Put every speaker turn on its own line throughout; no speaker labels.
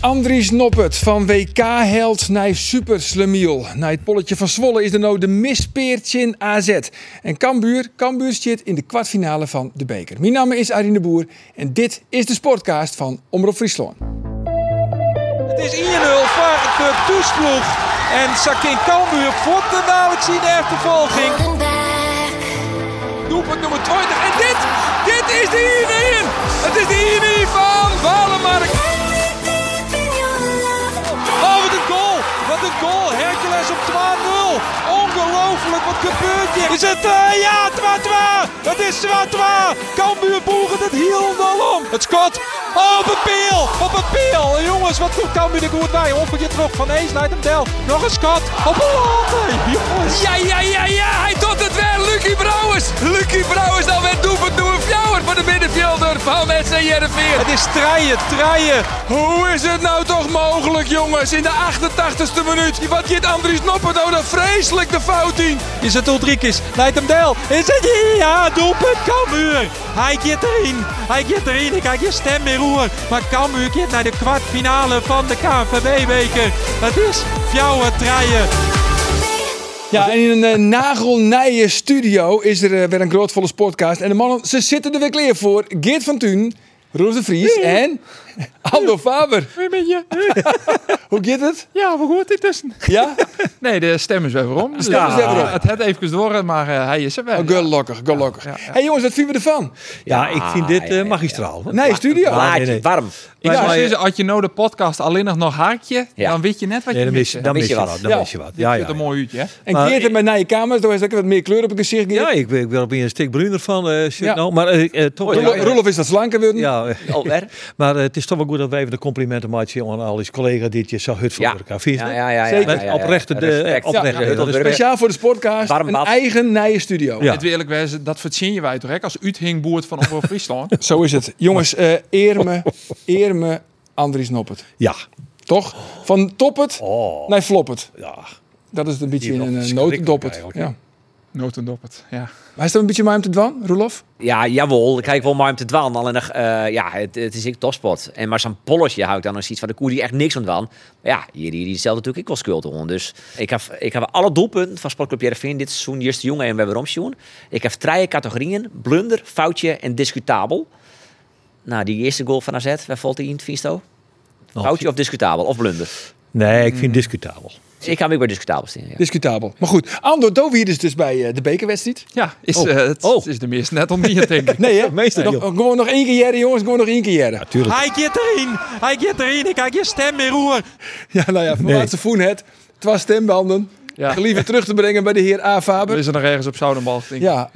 Andries Noppert van WK-held naar Super Slemiel. Na het polletje van Zwolle is er nou de mispeertje in AZ. En Cambuur, Cambuur zit in de kwartfinale van de beker. Mijn naam is Arine de Boer en dit is de Sportcast van Omroep Friesland.
Het is 1-0 voor de toesploeg. En Sakin Kalmuur wordt de nauwelijks in de achtervolging.
Holding back,
Doelpunt nummer 20. En dit, dit is de 1-1. Het is de 1-1 van Walemark.
everything your love.
Oh, wat een goal. Wat een goal. Hercules op 12-0. Ongelooflijk, wat gebeurt hier? Is het, eh, ja, 2-2. Het is 2-2. Cambuur boeren het hield al om. Het schot. Oh, op een peel. Op een peel. En jongens, wat doet Cambuur er goed bij. Hoppertje terug van Ees, leidt hem del. Nog een schot. Op een lat. Jongens.
Ja, ja, ja, ja, hij doet het wel. Lucky Brouwers. Lucky Brouwers, dan werd doelpunt nummer 4 voor de middenvelder van SC Heerenveen.
Het is traaien, traaien.
Hoe is het nou toch mogelijk, jongens? In de 88ste minuut. Wat dit Andries Noppert nou dat vreselijk de fout in.
Is het Ulrikis? Leidt hem Del? Is het ja, doelpunt Cambuur. Hij keert erin. Hij keert erin. Ik kijk je stem in roer. Maar Cambuur keert naar de kwartfinale van de KNVB-beker. Het is Fjouwer Traaien.
Ja, en in een eh, nagelnije studio is er eh, weer een grootvolle podcast. En de mannen, ze zitten er weer klaar voor. Geert van Thun, Roelof de Vries en Ando Faber.
Wie ben je?
Hoe gaat het?
Ja, we hoort intussen.
Ja?
Nee, de stem is weer om. De
stem is weer om.
Het het even door, maar eh, hij is er wel.
Oh, gelukkig, gelukkig.
Ja, ja.
hey, jongens, wat vinden we ervan?
Ja, ik vind dit eh, magistraal.
Nee, studio.
nee, nee.
warm.
Ik
Ja,
zou
maar je-
zeggen, als je nou de podcast alleen nog nog haakje,
Ja.
dan weet je net wat
Nee,
je
dan mis je,
mist.
dan
mis
mis je
je
wat. Dan mis je wat. Ja,
Het
ja.
een mooi uurtje, hè?
Ah, En
Maar
Geert heeft
ik-
mij naar je kamers, daar is lekker wat meer kleur op het gezicht.
Ja,
Ja,
ik ben, ik ben opeens een stuk bruiner van eh shit
Ja.
nou. Maar eh, eh, toch...
Roelof, Roelof is dat slanker worden.
Ja, eh,
Alweer?
maar eh, het is toch wel goed dat we even de complimenten maken aan al die collega's die je zo hut voor elkaar vies.
Ja, ja, ja.
Zeker.
ja, ja, ja.
Oprechte de-
Respect.
oprechte
Ja,
de-
dat is
respect.
Dus Speciaal voor de sportcast,
Warm
een
bad.
eigen nije studio.
Ja.
Het wil eerlijk wijzen, dat verzin je wij toch, hè? Als uithingboerd van Omroep Friesland.
Zo is het. Jongens, eh, eer me, eer me Andries Noppert.
Ja.
Toch? Van toppet
Oh,
naar floppet.
ja.
Dat is een beetje in een
Die
eh,
verschrikkelijk
notendoppet.
eigenlijk.
Ja.
Notendoppet, ja.
Maar is dat een beetje mijn te dwan, Roelof?
Ja, jawel. Ik kijk wel maar om te dwalen. Alleen nog, eh, ja, het, het is ik topspot. En maar zo'n polletje hou ik dan nog iets van de koer die echt niks aan dwan. Maar ja, hier die, die stelt natuurlijk ik wel schuld om. Dus ik heb, ik heb alle doelpunten van Sportclub Jereveen dit seizoen eerst jongen en we hebben omsjoen. Ik heb drie categorieën: blunder, foutje en discutabel. Nou, die eerste goal van AZ, waar valt die in, Visto? Foutje of discutabel of blunder?
Nee, ik vind het discutabel.
Ik ga hem ook bij discutabel staan. Ja.
Discutabel. Maar goed, Ando Dovier is dus bij eh, de bekerwedstrijd.
Ja, is,
Oh.
eh, het,
Oh.
het is de meest net om die, denk ik.
Nee hè?
Meester,
Nog,
joh.
gewoon nog één keer jaren, jongens. Gewoon nog één keer jaren.
Natuurlijk.
Hij keert erin. Hij keert erin. Ik kijk je stem in roer.
Ja, nou ja, van
Nee.
laatste voen het. Het was stembanden.
Ja. Dus-
Geliefd terug te brengen bij de heer A.
Er
Faber.
is er nog ergens op Zoudenbal, denk ik.
Ja,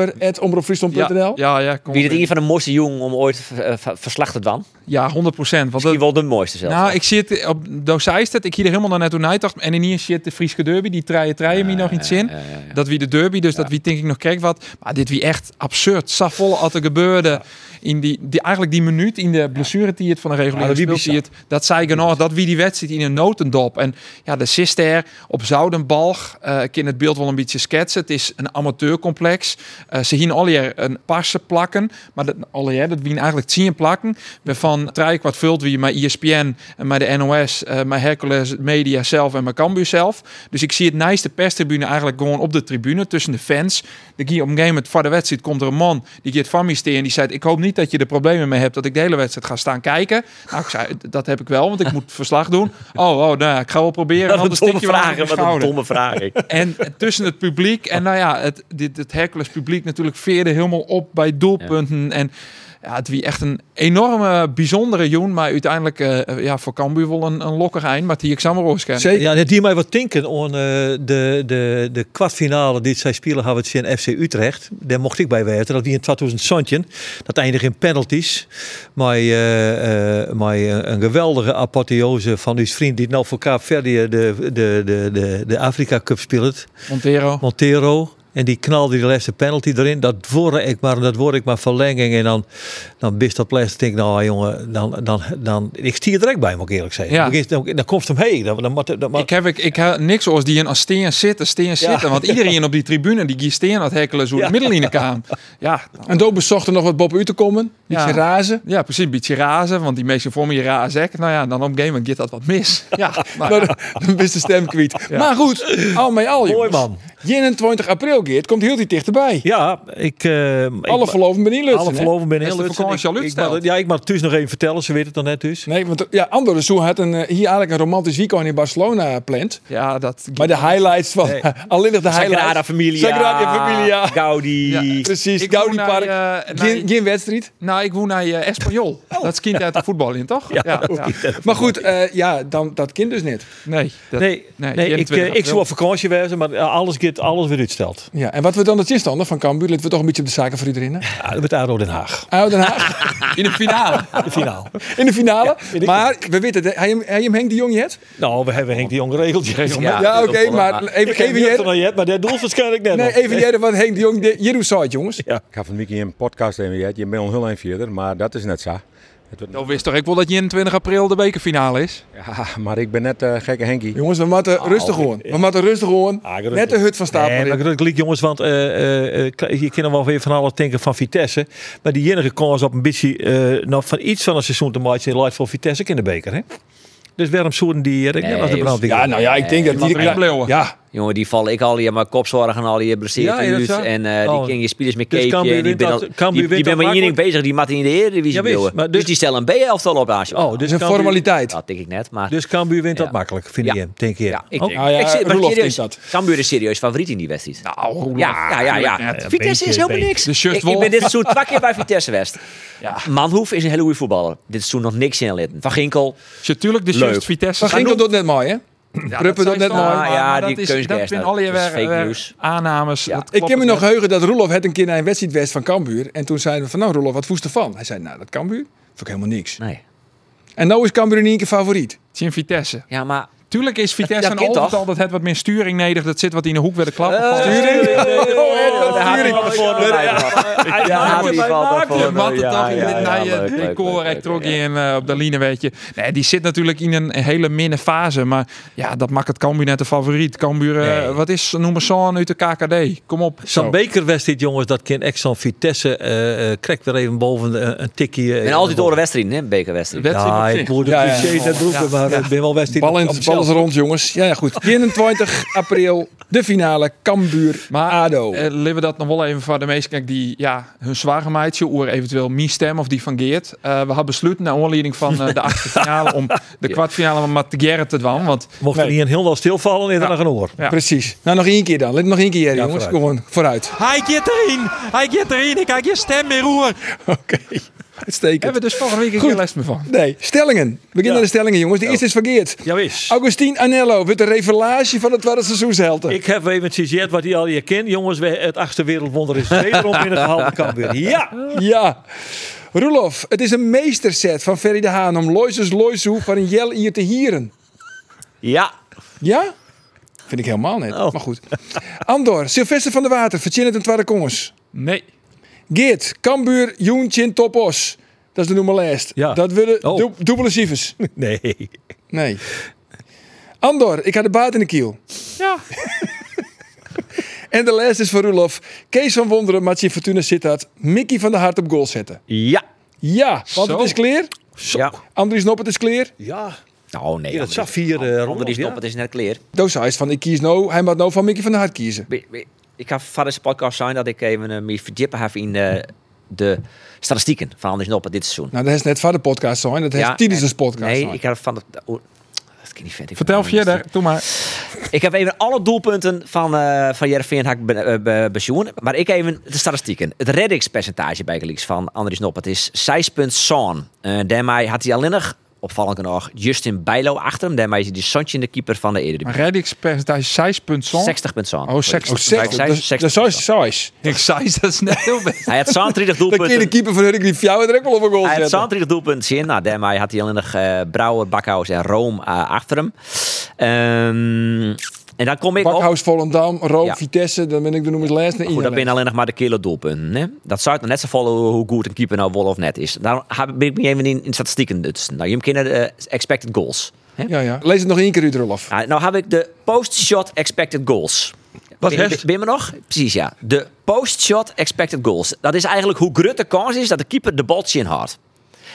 ja,
antwoord.faber.omroepfriesland.nl.
ja, ja, kom
Wie het
op.
een van de mooiste jongen om ooit eh, ver- verslag te dan?
ja, 100 procent. Want dat-
Misschien wel de mooiste zelfs.
Nou, ik zit op Dozeist het. Ik hier helemaal naar naartoe nagedacht. En in hier zit de Frieske derby. Die treien treien me nog iets in. Dat wie de derby, dus dat wie denk ik nog kijk wat. Maar dit wie echt absurd. Safvolle wat er gebeurde. In die, die, eigenlijk die minuut in de blessure die het van de reguliere
Ja, dat wie
speeltijd, Dat zei ik nog. Dat wie die wedstrijd in een notendop. En ja, de sister op Zoudenbalg. eh ik kan het beeld wel een beetje schetsen. Het is een amateurcomplex. Eh, ze zien alweer een passen plakken. Maar dat, alweer, dat wien eigenlijk zien plakken. Waarvan Trijk wat vult wie met E ESPN, en met de NOS, eh met Hercules Media zelf en met Cambuur zelf. Dus ik zie het nijste perstribune eigenlijk gewoon op de tribune tussen de fans. De op een gegeven moment voor de wedstrijd komt er een man die gaat van mij staan en die zei: Ik hoop niet dat je er problemen mee hebt dat ik de hele wedstrijd ga staan kijken. Nou, ik zei: Dat heb ik wel, want ik moet verslag doen. Oh, oh nou ja, ik ga wel proberen.
Dat een
anders
domme
tik je wel
vraag,
op mijn
wat een
schouder.
domme vraag. ik.
En tussen het publiek en nou ja, het, dit, het Hercules publiek natuurlijk veerde helemaal op bij doelpunten. En ja, het wie echt een enorme, bijzondere joen. Maar uiteindelijk eh, ja, voor Cambuur wel een, een lokker eind. Maar die ik Samaroos ken.
Zeker.
Ja, net die mij wat tinken aan eh, de, de, de kwartfinale die zij spelen hadden in FC Utrecht. Daar mocht ik bij weten. Dat die in 2000 Santje. Dat eindigde in penalties. Maar, eh, eh, maar eh, een geweldige apotheose van uw vriend die nou voor Kaapverdië de, de, de, de, de Afrika Cup speelt.
Montero.
Montero. En die knalde die laatste penalty erin. Dat word ik maar, dat word ik maar verlenging. En dan, dan bist dat plastic. Denk ik, nou jongen, dan, dan, dan, ik stier direct bij, moet ik eerlijk zeggen.
Ja.
Dan, dan, dan komt hem heen. Dan, dan, moet- dan, moet-
Ik heb, ik, ik heb niks als die in als steen zitten, steen zitten. Want iedereen op die tribune die giet steen aan het hekkelen zo de middellijnen kwam. Ja,
En Doop bezocht er nog wat Bob u te komen. Beetje
Ja.
razen.
ja, precies. Een beetje razen, want die meesten vormen je razen. Nou ja, dan op een gegeven moment gaat dat wat mis. Ja, maar,
Maar dan- dan is de stem kwijt. Maar goed, al met al jongens.
man.
21 april, Geert, komt heel die dichterbij.
ja, ik... eh, ik-
Alle verloven ben niet lukt.
alle verloven ben
Is
heel
de
Lutsen.
vakantie al
Ik- ik
uitgesteld?
mag- Ja, ik mag het thuis nog even vertellen. Ze weet het dan net dus.
Nee, want ja, Andor zo had een, eh, hier eigenlijk een romantisch weekend in Barcelona gepland.
ja, dat...
Maar de highlights van, alleen nog de highlights.
Sagrada Familia.
Sagrada Familia.
Gaudi.
Ja.
dus-
Precies,
Ik
Gaudi
woon
Park.
naar, eh,
geen,
naar-
geen wedstrijd.
Nou, ik woon naar eh, Espanyol.
Oh.
Dat is kind uit de voetbal in, toch? Ja. ja.
Maar goed, eh, ja, dan, dat kind dus net.
Nee, dat-
Nee, nee,
nee,
ik,
21
eh, ik zou
april.
op vakantie wezen, maar eh, alles, gaat- alles weer uitstelt.
Ja, en wat we dan de zinstander van Cambuur, laten we toch een beetje op de zaken voor iedereen. hè?
Ja, met ADO Den Haag.
Uit Den Haag,
in de finale.
De finale.
in de finale.
in de-
maar we weten, het, hij hem- hij hem Henk de Jong het?
nou, we hebben Henk de Jong geregeld.
Ja,
Ja,
oké,
dat is wel
maar
waar.
Ik
even,
heb
even,
niet
jaren-
nog jet, maar dat doel waarschijnlijk net
nee,
nog.
even jaren wat Henk de Jong, de- Jeroen zei het, jongens.
Ik ga van de weekend een podcast in je bent al heel eind verder, maar dat is net zo. Het wordt-
Nou wist toch ik wel dat 21 april de bekerfinale is?
Ja, maar ik ben net eh, gekke Henkie.
Jongens, we moeten rustig horen. We moeten rustig horen.
Ah, gelukkig.
Net de hut van stapel.
Nee,
in.
maar ik druk liek, jongens, want eh, eh, eh, je kan er wel weer van alles denken van Vitesse. Maar die enige kans op een beetje eh, nou, van iets van een seizoen te maken in light voor Vitesse in de beker. Hè? Dus waarom zouden die hier? Ik
Nee,
net als de
jongens.
brandweer.
ja, nou ja, ik denk dat
Laten we erin
die...
blijven.
Ja,
Jongen, die vallen ik al hier maar kopzorg en al je blesseert
Ja, ja, dat
uit.
is waar.
En eh,
Oh.
die king je spelers met
Dus
keepje.
Cambuur
en die
wint
ben
dat-
al-
Cambuur
die-
wint
die
dat
ben maar één ding
makkelijk.
bezig, die mat in de
Ja,
Eredivisie
wist,
willen.
maar
Dus,
dus-
die stellen een B-elftal op aan.
Oh, dus
dat is een
Cambuur-
formaliteit.
Dat denk ik net, maar...
Dus Cambuur wint
Ja.
dat makkelijk, vind
Ja.
je hem? Denk je?
ja, ik
Oh,
denk...
Ah, ja,
ik zit- maar
Roelof
serieus,
denkt
Cambuur is serieus favoriet in die wedstrijd.
Nou,
Ja, ja, ja. ja. Vitesse
beetje,
is helemaal
beetje.
niks.
De shirt
ik, ik
wolf.
ben dit seizoen twee keer bij Vitesse West. Manhoef is een hele goede voetballer. Dit seizoen nog niks in litten. Van Ginkel.
Natuurlijk, de
Leuk.
shirt
dus
Vitesse.
van Ginkel doet net mooi, hè?
Ja,
Pruppen dat net
zei ze
mooi.
al,
Ah, ja,
maar
die
dat is,
keusgers,
dat zijn
dat
al je
is
weer,
fake
weer
news.
aannames.
Ja.
Dat
Ik
klopt
ken me nog
net.
heugen dat Roelof het een keer naar een wedstrijd was van Cambuur. En toen zeiden we van, nou Roelof, wat voest ervan? Hij zei, nou dat Cambuur, vond ik helemaal niks.
Nee.
En nou is Cambuur in één keer favoriet.
Het is in Vitesse.
Ja, maar...
Tuurlijk is Vitesse
dat
een
kind
overtal.
toch? Eh,
Dat heeft wat meer sturing nodig. Dat zit wat in de hoek bij de klap. Van-
Sturing? Oh, Edward,
Daar haat ik
sturing.
wel voor.
Ja,
Ja,
maar
die
die
valt
maakt
daarvoor
hem,
mee.
want
Ja,
dat toch in
ja,
dit
ja,
nieuwe
leuk, leuk,
decor.
leuk,
Ik
leuk,
trok
ja.
je in eh, op de line, weet je. Nee, die zit natuurlijk in een hele minne fase. Maar ja, dat maakt het Cambuur net de favoriet. Cambuur, eh, wat is, noem maar zo'n uit de KKD. Kom op.
Zo'n bekerwedstrijd, jongens, dat kan echt zo'n Vitesse eh eh, krek weer even boven eh, een tikje. eh,
En altijd door de wedstrijd, hè? Bekerwedstrijd.
Wedstrijd op
Ja,
zich.
ik moet
Ja,
het
ja.
cliché net roepen, maar ik ben wel wedstrijd.
Bal, in,
op
bal is
zelf.
rond, jongens. Ja, ja, goed. 21 april, de finale, Cambuur,
Maar
ADO.
eh, laten we dat nog wel even voor de meesten kijken die ja, hun zware meidje, of eventueel mijn stem of die van Geert. Eh, we hadden besloten naar aanleiding van eh, de achtste finale om de kwartfinale van Matt Gerrit te dwan. Want
Mocht er niet een heel wel stilvallen, is er nog een oor.
ja.
Precies. Nou, nog één keer dan. Let nog één keer,
Ja,
jongens.
vooruit.
Gewoon vooruit.
Hij gaat erin. Hij gaat erin. Ik heb je stem in roer.
Oké. Uitstekend.
hebben we dus vorige week
Goed.
geen les meer van.
Nee, stellingen. We beginnen
Ja.
de stellingen, jongens. De eerste is verkeerd.
Jawis.
Augustine Anello wordt de revelage van het tweede seizoenshelte.
Ik heb even gezegd wat hij al je kent. Jongens, we- het achtste wereldwonder is wederom binnengehaald in Cambuur. Ja!
Ja. Roelof, het is een meesterset van Ferry de Haan om Loises Loisoe van een Jel hier te hieren.
Ja.
Ja? Vind ik helemaal net.
Oh.
Maar goed. Andor, Sylvester van der Water, Vertjen het en Twarre Kongens.
Nee.
Geert, Kambuur, Joentje, Topos. Dat is de nummer lijst.
Ja.
Dat willen
Oh.
du- dubbele cijfers.
Nee.
Nee. Andor, ik had de baat in de kiel.
Ja.
En de lijst is voor Roelof. Kees van Wonderen, Matje Fortuna Sittard. Mickey van der Hart op goal zetten.
Ja.
Ja, want
Zo.
het is clear.
Ja.
Andries Noppet is clear.
Ja.
Nou, nee.
Ja, dat zag vier eh,
Onder
rondes,
die
ja.
stop, het is net clear.
Doos hij is van ik kies nou. Hij mag nou van Mickey van der Hart kiezen.
Be- be- Ik ga van deze podcast zijn dat ik even eh, me verdiepen heb in eh, de statistieken van Anders Noppen dit seizoen.
Nou, dat is net van de podcast zijn. Dat is
Ja,
tijdens
en-
de podcast
Nee,
zijn.
ik heb van de... oh, dat kan niet verder.
Vertel verder. Doe maar.
Ik heb even alle doelpunten van, eh van Jervin Hak be- eh, be- bezien. Maar ik even de statistieken. Het reddingspercentage bij Gelieks van Andries Noppert is 6,7. Eh daarmee had hij alleen nog, opvallend nog, Justin Bijlo achter hem. Daarmee is hij de Santje de keeper van de
Maar
Eredivisie.
reddingspercentage 6 punt
60 punten.
Oh, 60.
Oh, zeg,
Zij-
dat-
zij-
dat is size.
Ik zei dat is net heel best.
Hij had 32
Dan kun je de
doelpunten.
keeper van Hurrik die jou er ook wel op een goal
Hij had
zetten.
32 doelpunten in. Nou, daarmee had hij alleen nog eh, Brouwer, Bakhuis en Room eh, achter hem. Ehm, En dan kom ik op.
Bakhuis, Volendam, Roop,
Ja.
Vitesse, dan ben ik de noemers laatste.
Goed, dat ben alleen nog maar de kille doelpunten. Hè? Dat zou het nou net zo vallen hoe goed een keeper nou wol of net is. Daarom heb- ben ik me even in, in statistieken dus. Nou, je moet kennen de expected goals. Hè?
Ja, ja. Lees het nog één keer uit, Rolf.
Nou, nou heb ik de post-shot expected goals.
Wat
Ben-
hecht?
Ben je me nog? Precies, ja. De post-shot expected goals. Dat is eigenlijk hoe groot de kans is dat de keeper de bal in houdt.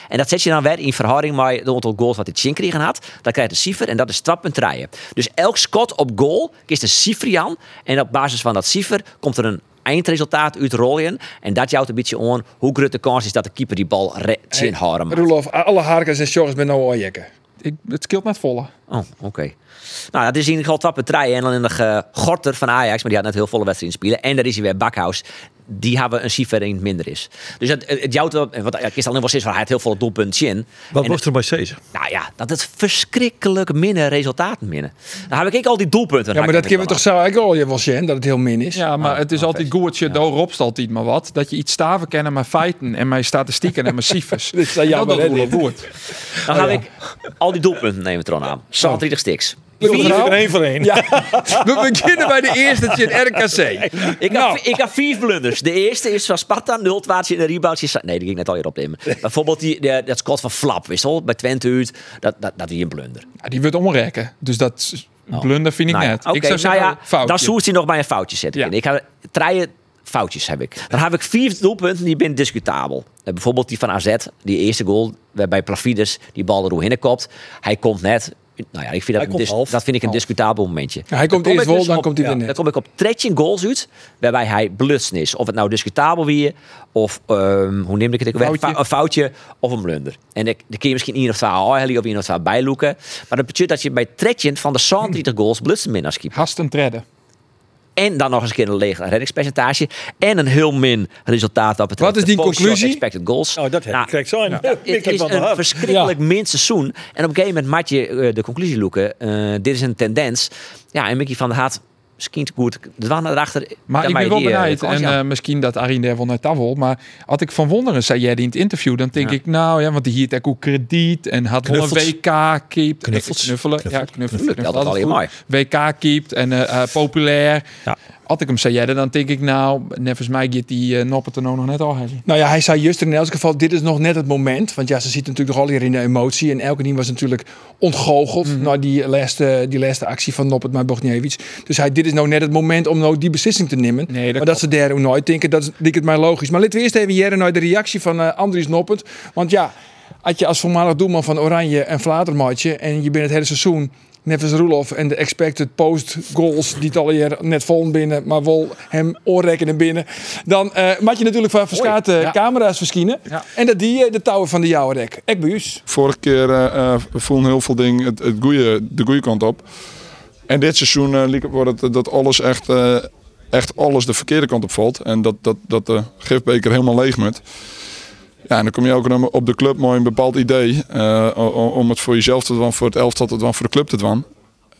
En dat zet je dan weer in verhouding met het aantal goals wat hij zin kregen had. Dan krijg je een cijfer en dat is 12,3. Dus elk schot op goal is een cijfer aan. En op basis van dat cijfer komt er een eindresultaat uit rollen. En dat jouwt een beetje aan hoe groot de kans is dat de keeper die bal re- zin houden mag.
Roelof, alle harkers en shorts ben nou al jekken.
Ik, het scheelt net volle.
Oh, oké. Nou, dat is in ieder geval Tappen Trijen en dan in de eh, Gorter van Ajax, maar die had net heel volle wedstrijden spelen. En daar is hij weer Bakhuis. Die hebben een cijfer in het minder is. Dus het, het, het jouwt wel, en wat ik is al nog wel sinds van hij had heel veel doelpunten in.
Wat
En
was er bij Cezar?
Nou ja, dat het verschrikkelijk minder resultaten minnen. Nou heb ik al die doelpunten.
Ja, maar dat
haak ik
kunnen we
niet
toch zo eigenlijk al je wel zien, dat het heel min is.
Ja, maar het is altijd goed dat Ah, nou, je door opst altijd maar wat. Dat je iets staven kennen maar feiten en mijn statistieken en mijn cijfers.
Dit is wel
En
jammer,
dat
hè,
doet
dit?
goed.
aan. Dan heb ik al die doelpunten nemen we er aan. 30 stiks.
We
Eén voor één.
beginnen bij de eerste, dat je het RKC.
Ik,
Nou.
heb, ik heb vier blunders. De eerste is van Sparta, 0 12 in de rebound. Nee, die ging ik net al hier opnemen. Bijvoorbeeld die, de- dat schot van Flap, wist je wel, bij Twente uit. Dat, dat, dat is een blunder.
Ja, die wordt omrekken. Dus dat is- blunder vind ik
Nou ja,
net.
oké,
ik zou
nou
zeggen,
ja,
foutje.
dan zoest hij nog bij een foutje zetten.
Ja.
in. Ik heb drie foutjes heb ik. Dan heb ik vier doelpunten die ben discutabel. Eh, bijvoorbeeld die van AZ, die eerste goal waarbij Plafides die bal erdoor kopt. Hij komt net. Nou ja, ik vind dat, een
komt
dis-
half.
dat vind ik een discutabel momentje.
Hij komt eerst
ik
wol,
dus
dan
op-
komt hij weer
ja, Dan
net.
kom ik op 13 goals uit, waarbij hij blutsen is. Of het nou discutabel weer, of ehm, hoe neem ik het? ook weer?
Foutje.
Fa- Een foutje of een blunder. En ik, dan kun je misschien één of twee halen of één of twee bijloeken. Maar dat betekent dat je bij 13 van de 30 goals blutsen min als keeper.
Hast een treden.
En dan nog eens een keer een leeg reddingspercentage. En een heel min resultaat wat betreft
Wat is die
de post-shot
conclusie?
expected goals.
Oh, dat heb
Nou,
ik krijg zo een. Ja.
het is een verschrikkelijk min seizoen. En op een gegeven moment maak je eh, de conclusie, Loeken. eh, dit is een tendens. Ja, en Mickey van der Haat, misschien te goed. De dwan erachter.
Maar
dan
ik ben
maak je
wel
die, eh,
benijd.
kans,
En
ja.
eh, misschien dat Arien daar wel naar tafel. Maar had ik Van Wonderen zei jij die in het interview. Dan denk ik, nou ja, want die hier ook krediet. En had wel een
Knuffels.
WK keept.
Knuffels.
Knuffelen. Ja, knuffelen.
Ja, dat is
Altijd
wel heel
goed. WK keept en eh, eh, populair.
Ja.
Had ik hem zei jij dan denk ik, nou, nevens mij gaat die eh Noppert er nou nog net al hebben.
Nou ja, hij zei juist in elk geval, dit is nog net het moment. Want ja, ze zitten natuurlijk nog al hier in de emotie. En elke team was natuurlijk ontgoocheld
Mhm.
naar die laatste, die laatste actie van Noppert maar Bogniewicz. Dus hij, dit is nou net het moment om nou die beslissing te nemen.
Nee, dat
maar dat ze daar ook nooit denken, dat is denk het mij logisch. Maar laten we eerst even jaren naar de reactie van eh, Andries Noppert. Want ja, had je als voormalig doelman van Oranje een Vladermaatje en je bent het hele seizoen... Nevis Roelof en de expected post goals die het al hier net vol binnen, maar wel hem oorrekkenen binnen. Dan eh maak je natuurlijk van verschaat
ja.
camera's verschijnen. En dat die eh, de touwen van de jouwe rek. Ek bij us.
Vorige keer eh eh, voelde heel veel dingen het, het goeie, de goede kant op. En dit seizoen eh, liep het wordt het dat alles echt, eh, echt alles de verkeerde kant op valt. En dat, dat, dat de gifbeker helemaal leeg moet. Ja, en dan kom je ook nog op de club mooi een bepaald idee. eh, o- o- om het voor jezelf te doen, voor het elftal te doen, voor de club te doen.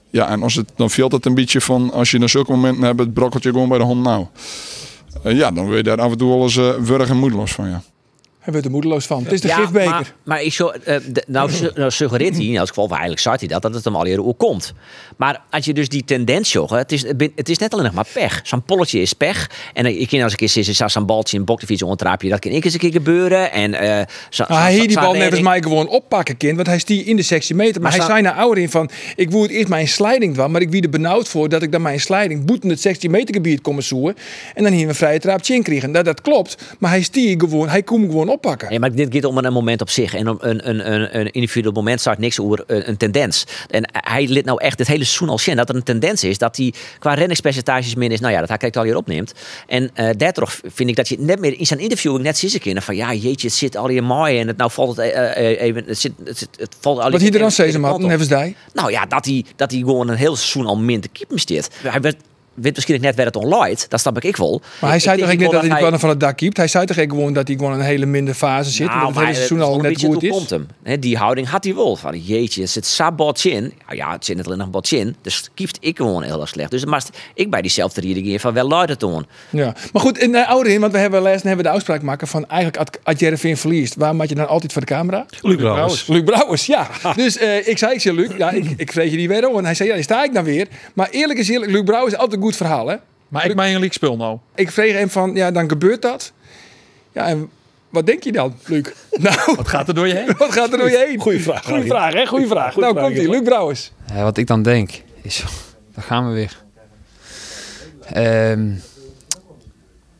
Ja, en als het, dan viel dat een beetje van, als je naar zulke momenten hebt, het brokkeltje gewoon bij de hond nou. Eh, ja, dan word je daar af en toe wel eens eh, wurg en moedeloos van, ja.
Hij wordt er moedeloos van. Het is de
Ja,
gifbeker.
Maar, maar ik zo, eh, de- nou, su- nou suggereert hij, in elk geval, maar eigenlijk zat hij dat, dat het hem al eerder ook komt. Maar als je dus die tendens zocht, het is, het bin- het is net alleen nog maar pech. Zo'n polletje is pech. En eh, ik ken als ik eens is, zo'n baltje in boktefiets ontraapje, dat kan ik eens een keer gebeuren. En, eh zo,
Maar hij
zo-
hier die
zo-
Ah, bal
zo-
net als
ik-
mij gewoon oppakken, kind. Want hij stie in de 16 meter. Maar,
Maar
hij
sta-
zei naar Aurin van... Ik woe het eerst mijn sliding dwan, maar ik wie er benauwd voor... dat ik dan mijn sliding boeten het 16 meter gebied kom zoeken. En dan hier een vrije traap in kregen. Nou, dat klopt. Maar hij stie gewoon... Hij kon hem gewoon oppakken.
Nee, maar dit gaat om een moment op zich. En om een, een, een, een individueel moment staat niks over een, een tendens. En hij liet nou echt het hele seizoen al zien dat er een tendens is. Dat hij qua renningspercentages min is. Nou ja, dat hij kijkt al hier opneemt. En eh daardoor vind ik dat je het net meer in zijn interview ook net ziet ze kinderen van ja, jeetje, het zit al hier mooi. En het nou valt het eh, eh, even. Het, zit, het, zit- het valt al
Wat
hier
hier dan
even-
zei ze
even
maar,
kant op.
Nevis Dij.
Nou ja, dat hij, dat hij gewoon een heel seizoen al min te keeper steert. Hij werd wint misschien net werd het online. Dat snap ik ik wel.
Maar hij zei toch
denk
ook net dat hij de
wel
pannen van het dak kiept. Hij zei toch ook gewoon dat hij gewoon een hele minder fase zit.
Nou,
omdat het
maar
hele
het
seizoen
is
al
nog een
net
beetje
goed
toe
is.
komt hem. Hè, die houding had hij wel. Van, jeetje, er zit sabotje in. Nou ja, het zit net alleen nog wat in. Dus kieft ik gewoon heel erg slecht. Dus maar ik bij diezelfde rieding hier van wel luider te doen.
Ja. Maar goed, in uh, Ouderin, want we hebben les en hebben we de uitspraak maken van eigenlijk als- als Jervin verliest, waar maak je dan altijd voor de camera?
Luc Brouwers.
Luc Brouwers, ja. Dus eh, ik zei, ik zei, Luc, ja, ik, ik vrees je die weer om. En hij zei, ja, daar sta ik dan weer. Maar eerlijk is eerlijk, Luc Brouwers is altijd een goed verhaal, hè.
Maar ik meen een leak spul nou.
Ik vreeg hem van, ja, dan gebeurt dat. Ja, en wat denk je dan, Luc? Nou,
Wat gaat er door je heen?
wat gaat er door je heen?
Goeie vraag.
Goeie vraag, hè? Goeie vraag. nou, komt ie, Luc Brouwers.
Eh, wat ik dan denk is, daar gaan we weer. Ehm,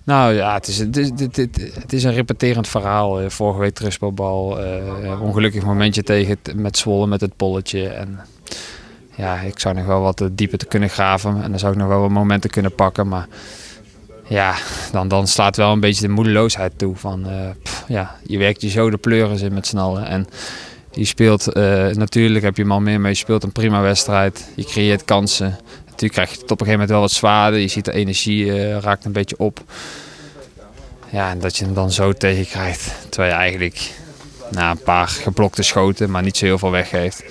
nou ja, het is, het, is, dit- dit- het is een repeterend verhaal. Eh, vorige week terugspelbal, eh ongelukkig momentje tegen het- met Zwolle met het polletje. En, ja, ik zou nog wel wat eh, dieper te kunnen graven en dan zou ik nog wel wat momenten kunnen pakken. Maar ja, dan, dan slaat wel een beetje de moedeloosheid toe. Van, eh, pff, ja, je werkt je zo de pleuris in met snallen. En je speelt, eh, natuurlijk heb je hem al meer, maar je speelt een prima wedstrijd. Je creëert kansen. Natuurlijk krijg je het op een gegeven moment wel wat zwaarder. Je ziet de energie eh, raakt een beetje op. Ja, en dat je hem dan zo tegenkrijgt. Terwijl je eigenlijk na een paar geblokte schoten, maar niet zo heel veel weggeeft.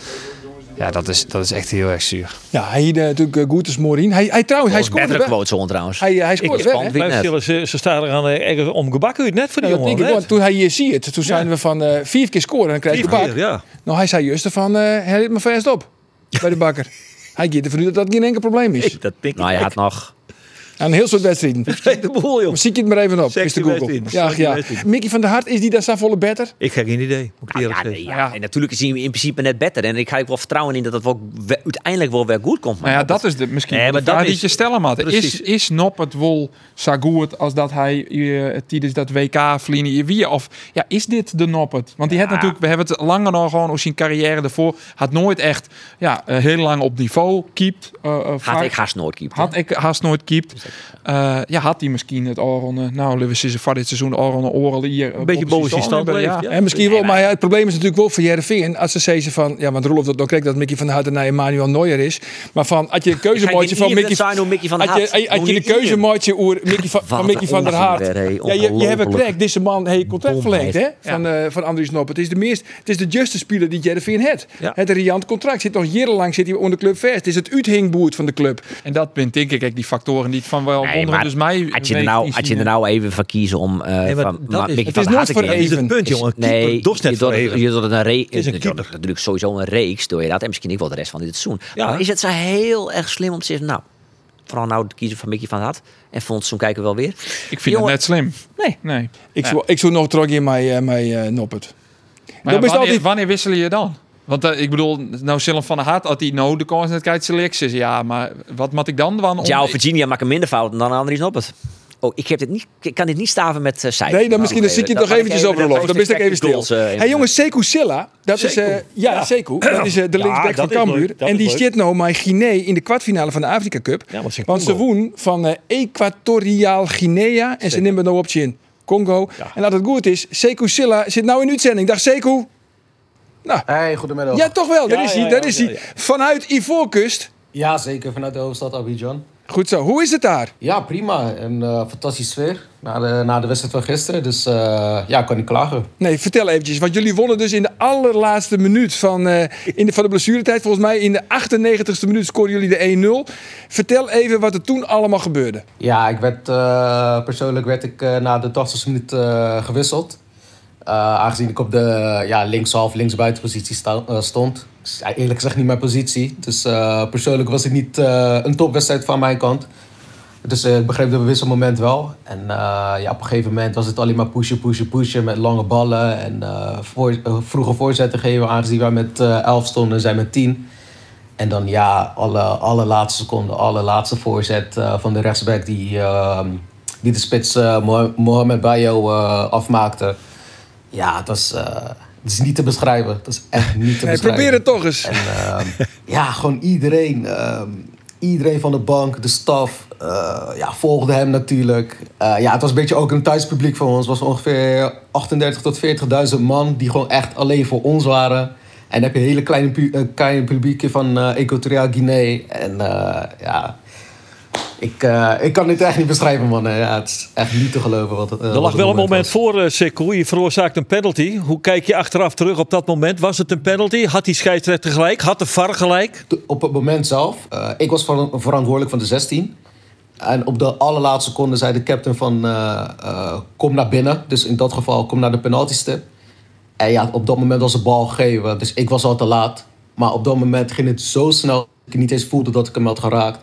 Ja, dat is, dat is echt heel erg zuur.
Ja, hij eh, natuurlijk uh, Goetes Morin. Hij, hij trouwens, hij scoorde
Betere
Oh, wel.
quotes on trouwens.
Hij, eh, hij scoorde
was
wel, hè?
spannend. Weet net.
Ze, ze staan er aan eh, ergens om gebakken uit net voor die
Nou, dat
jongen.
denk ik
net.
wel. toen hij hier ziet, het, toen zijn we van eh, vier keer scoren en dan krijg je
Vier
de bak.
keer, ja.
Nou, hij zei juist van, eh hij me vast op bij de bakker. Hij geeft ervan uit dat dat geen enkel probleem is.
Dat denk
nou, hij had nog...
Aan een heel soort wedstrijden.
de boel, joh.
Maar Zie je het maar even op, is
Zegt
de
die
Google.
wedstrijd.
Ja,
Zegt die
ja.
wedstrijd.
Mickey van der Hart, is die daar volle better?
Ik heb geen idee. Moet ik
Nou
eerlijk
ja,
zeggen.
nee, ja. En natuurlijk is hij in principe net beter. En ik ga ook wel vertrouwen in dat het wel, we- uiteindelijk wel weer goed komt. Maar
Nou ja, dat is de, misschien
Nee,
wel de
maar dat
vraag die
is-
je stellen moet. Is,
Precies.
is Nop het wol zo goed als dat hij eh, tijdens dat WK vliegen je wie? Of ja, is dit de Nop het? Want die had natuurlijk, we hebben het langer nog gewoon over zijn carrière daarvoor, had nooit echt ja, eh, heel lang op niveau keept. eh, eh,
Gaat
vaak-
ik haast nooit keepen.
Had ik haast nooit keept. Eh, ja, had hij misschien het Aron. Nou, Lewis is voor dit seizoen Aron Oral hier. eh, Een
beetje boven zijn stand
Ja.
bleef, ja.
En misschien wel, maar ja, het probleem is natuurlijk wel voor Jervin. Als ze zeggen van, ja, want Rolf dat ook kreeg dat Mickey van der Hart en naar Emmanuel Neuer is. Maar van, had je een keuzemaatje van Mickey...
zijn hoe Mickey van de
Had je,
Haat.
had je
Nog
de
niet
keuze
in.
maatje oer Mickey van,
Wat
van, Mickey
een
van der
onzin
Haart?
weer, hè.
Ja, je, je hebt een
Ongelooflijk.
crack. Deze man heeft contract verlengd hè? Van, eh van Andries Noppert. Het is de, meest, het is de juiste speler die Jervin heeft.
Ja.
Het riant contract. Zit nog jarenlang zit hij onder de club vast. Het is het uithingboert van de club.
En dat ben denk ik ook die factoren niet van wel
Nee,
wonderen.
maar
Dus mij
Had je er nou, had je er nou even van kiezen om... eh
maar
van,
dat
maar
is- het
Mickey van
is
der
nooit
Haat te
voor
kiezen?
Is het
Even.
punt, jongen.
Dus Nee,
Nee, doet net
je doet,
voor even.
je doet een reeks.
is een keeper.
natuurlijk sowieso een reeks door je dat. En misschien ik wel de rest van dit seizoen.
Ja.
Maar is het zo heel erg slim om te zeggen... Nou, vooral nou te kiezen van Mickey van der Haat. En volgend seizoen kijken we wel weer.
Ik vind het
Jongen.
net slim.
Nee.
Nee.
Ik, zou, ik zou nog terug in mijn, eh, mijn eh, Noppert.
Maar
Dat
ja,
is
wanneer,
altijd-
wanneer wissel je dan? Want eh, ik bedoel, nou Willem van der Haat had hij nou de kans net kijkt selecties. Ja, maar wat moet ik dan? Want
Ja, of Virginia maakt een minder fouten dan Andries Noppert. Oh, ik, heb dit niet, ik kan dit niet staven met eh cijfers.
Nee, dan misschien dan zit je
Dat
toch
kan ik
eventjes op,
de
Rolf. Dan ben ik even
post-expected
stil.
goals, eh, in-
hey, jongens, Sekou Silla, dat is eh, ja, Sekou, dat is eh, de
Ja,
linksback
dat
van
is leuk.
Cambuur.
Dat
En
is
die
leuk.
zit nou mijn Guinea in de kwartfinale van de Afrika Cup.
Ja, want ze
want ze
Congo.
woen van eh, Equatoriaal Guinea en ze nemen nou op in Congo. En als het goed is, Sekou Silla zit nou in uitzending. Dag Sekou. Nou,
Hey, goedemiddag.
Ja, toch wel. Daar is
ja,
hij.
ja,
Daar is
ja,
hij. Vanuit Ivoorkust.
Ja, zeker. Vanuit de hoofdstad Abidjan.
Goed zo. Hoe is het daar?
Ja, prima. Een eh, fantastische sfeer na de, na de wedstrijd van gisteren. Dus eh, ja, ik kan niet klagen.
Nee, vertel eventjes. Want jullie wonnen dus in de allerlaatste minuut van, eh, in de, van de blessuretijd. Volgens mij in de 98ste minuut scoren jullie de 1-0. Vertel even wat er toen allemaal gebeurde.
Ja, ik werd, eh, persoonlijk werd ik eh, na de 80ste minuut eh, gewisseld. Eh, aangezien ik op de ja, linkshalf, linksbuitenpositie sta- eh, stond. Is Eerlijk gezegd niet mijn positie. Dus eh, persoonlijk was het niet eh, een topwedstrijd van mijn kant. Dus eh, ik begreep de wisselmoment wel. En eh, ja, op een gegeven moment was het alleen maar pushen, pushen, pushen met lange ballen. En eh, voor, eh, vroege voorzetten geven, aangezien wij met eh, 11 stonden en zij met 10. En dan ja, alle, alle laatste seconde, alle laatste voorzet eh, van de rechtsback die, ehm, die de spits eh, Mo- Mohamed Bayo eh, afmaakte. Ja, het was, eh, het is niet te beschrijven. Het is echt niet te
Nee,
beschrijven.
probeer het toch eens.
En ehm, ja, gewoon iedereen. ehm, iedereen van de bank, de staf, eh, ja, volgde hem natuurlijk. Eh, ja, het was een beetje ook een thuispubliek van ons. Het was ongeveer 38.000 tot 40.000 man die gewoon echt alleen voor ons waren. En dan heb je een hele kleine, pu- eh, kleine publiekje van eh Equatoriaal Guinea. En eh, ja, Ik, eh, ik kan dit echt niet beschrijven, man. Ja, het is echt niet te geloven wat het eh,
Er
wat
lag
het
wel een moment
was.
voor, eh Sikko. Je veroorzaakt een penalty. Hoe kijk je achteraf terug op dat moment? Was het een penalty? Had die scheidsrechter gelijk? Had de VAR gelijk?
T- Op het moment zelf, eh, ik was ver- verantwoordelijk van de 16. En op de allerlaatste seconde zei de captain van eh, eh, kom naar binnen. Dus in dat geval kom naar de penalty stip. En ja, op dat moment was de bal gegeven. Dus ik was al te laat. Maar op dat moment ging het zo snel dat ik niet eens voelde dat ik hem had geraakt.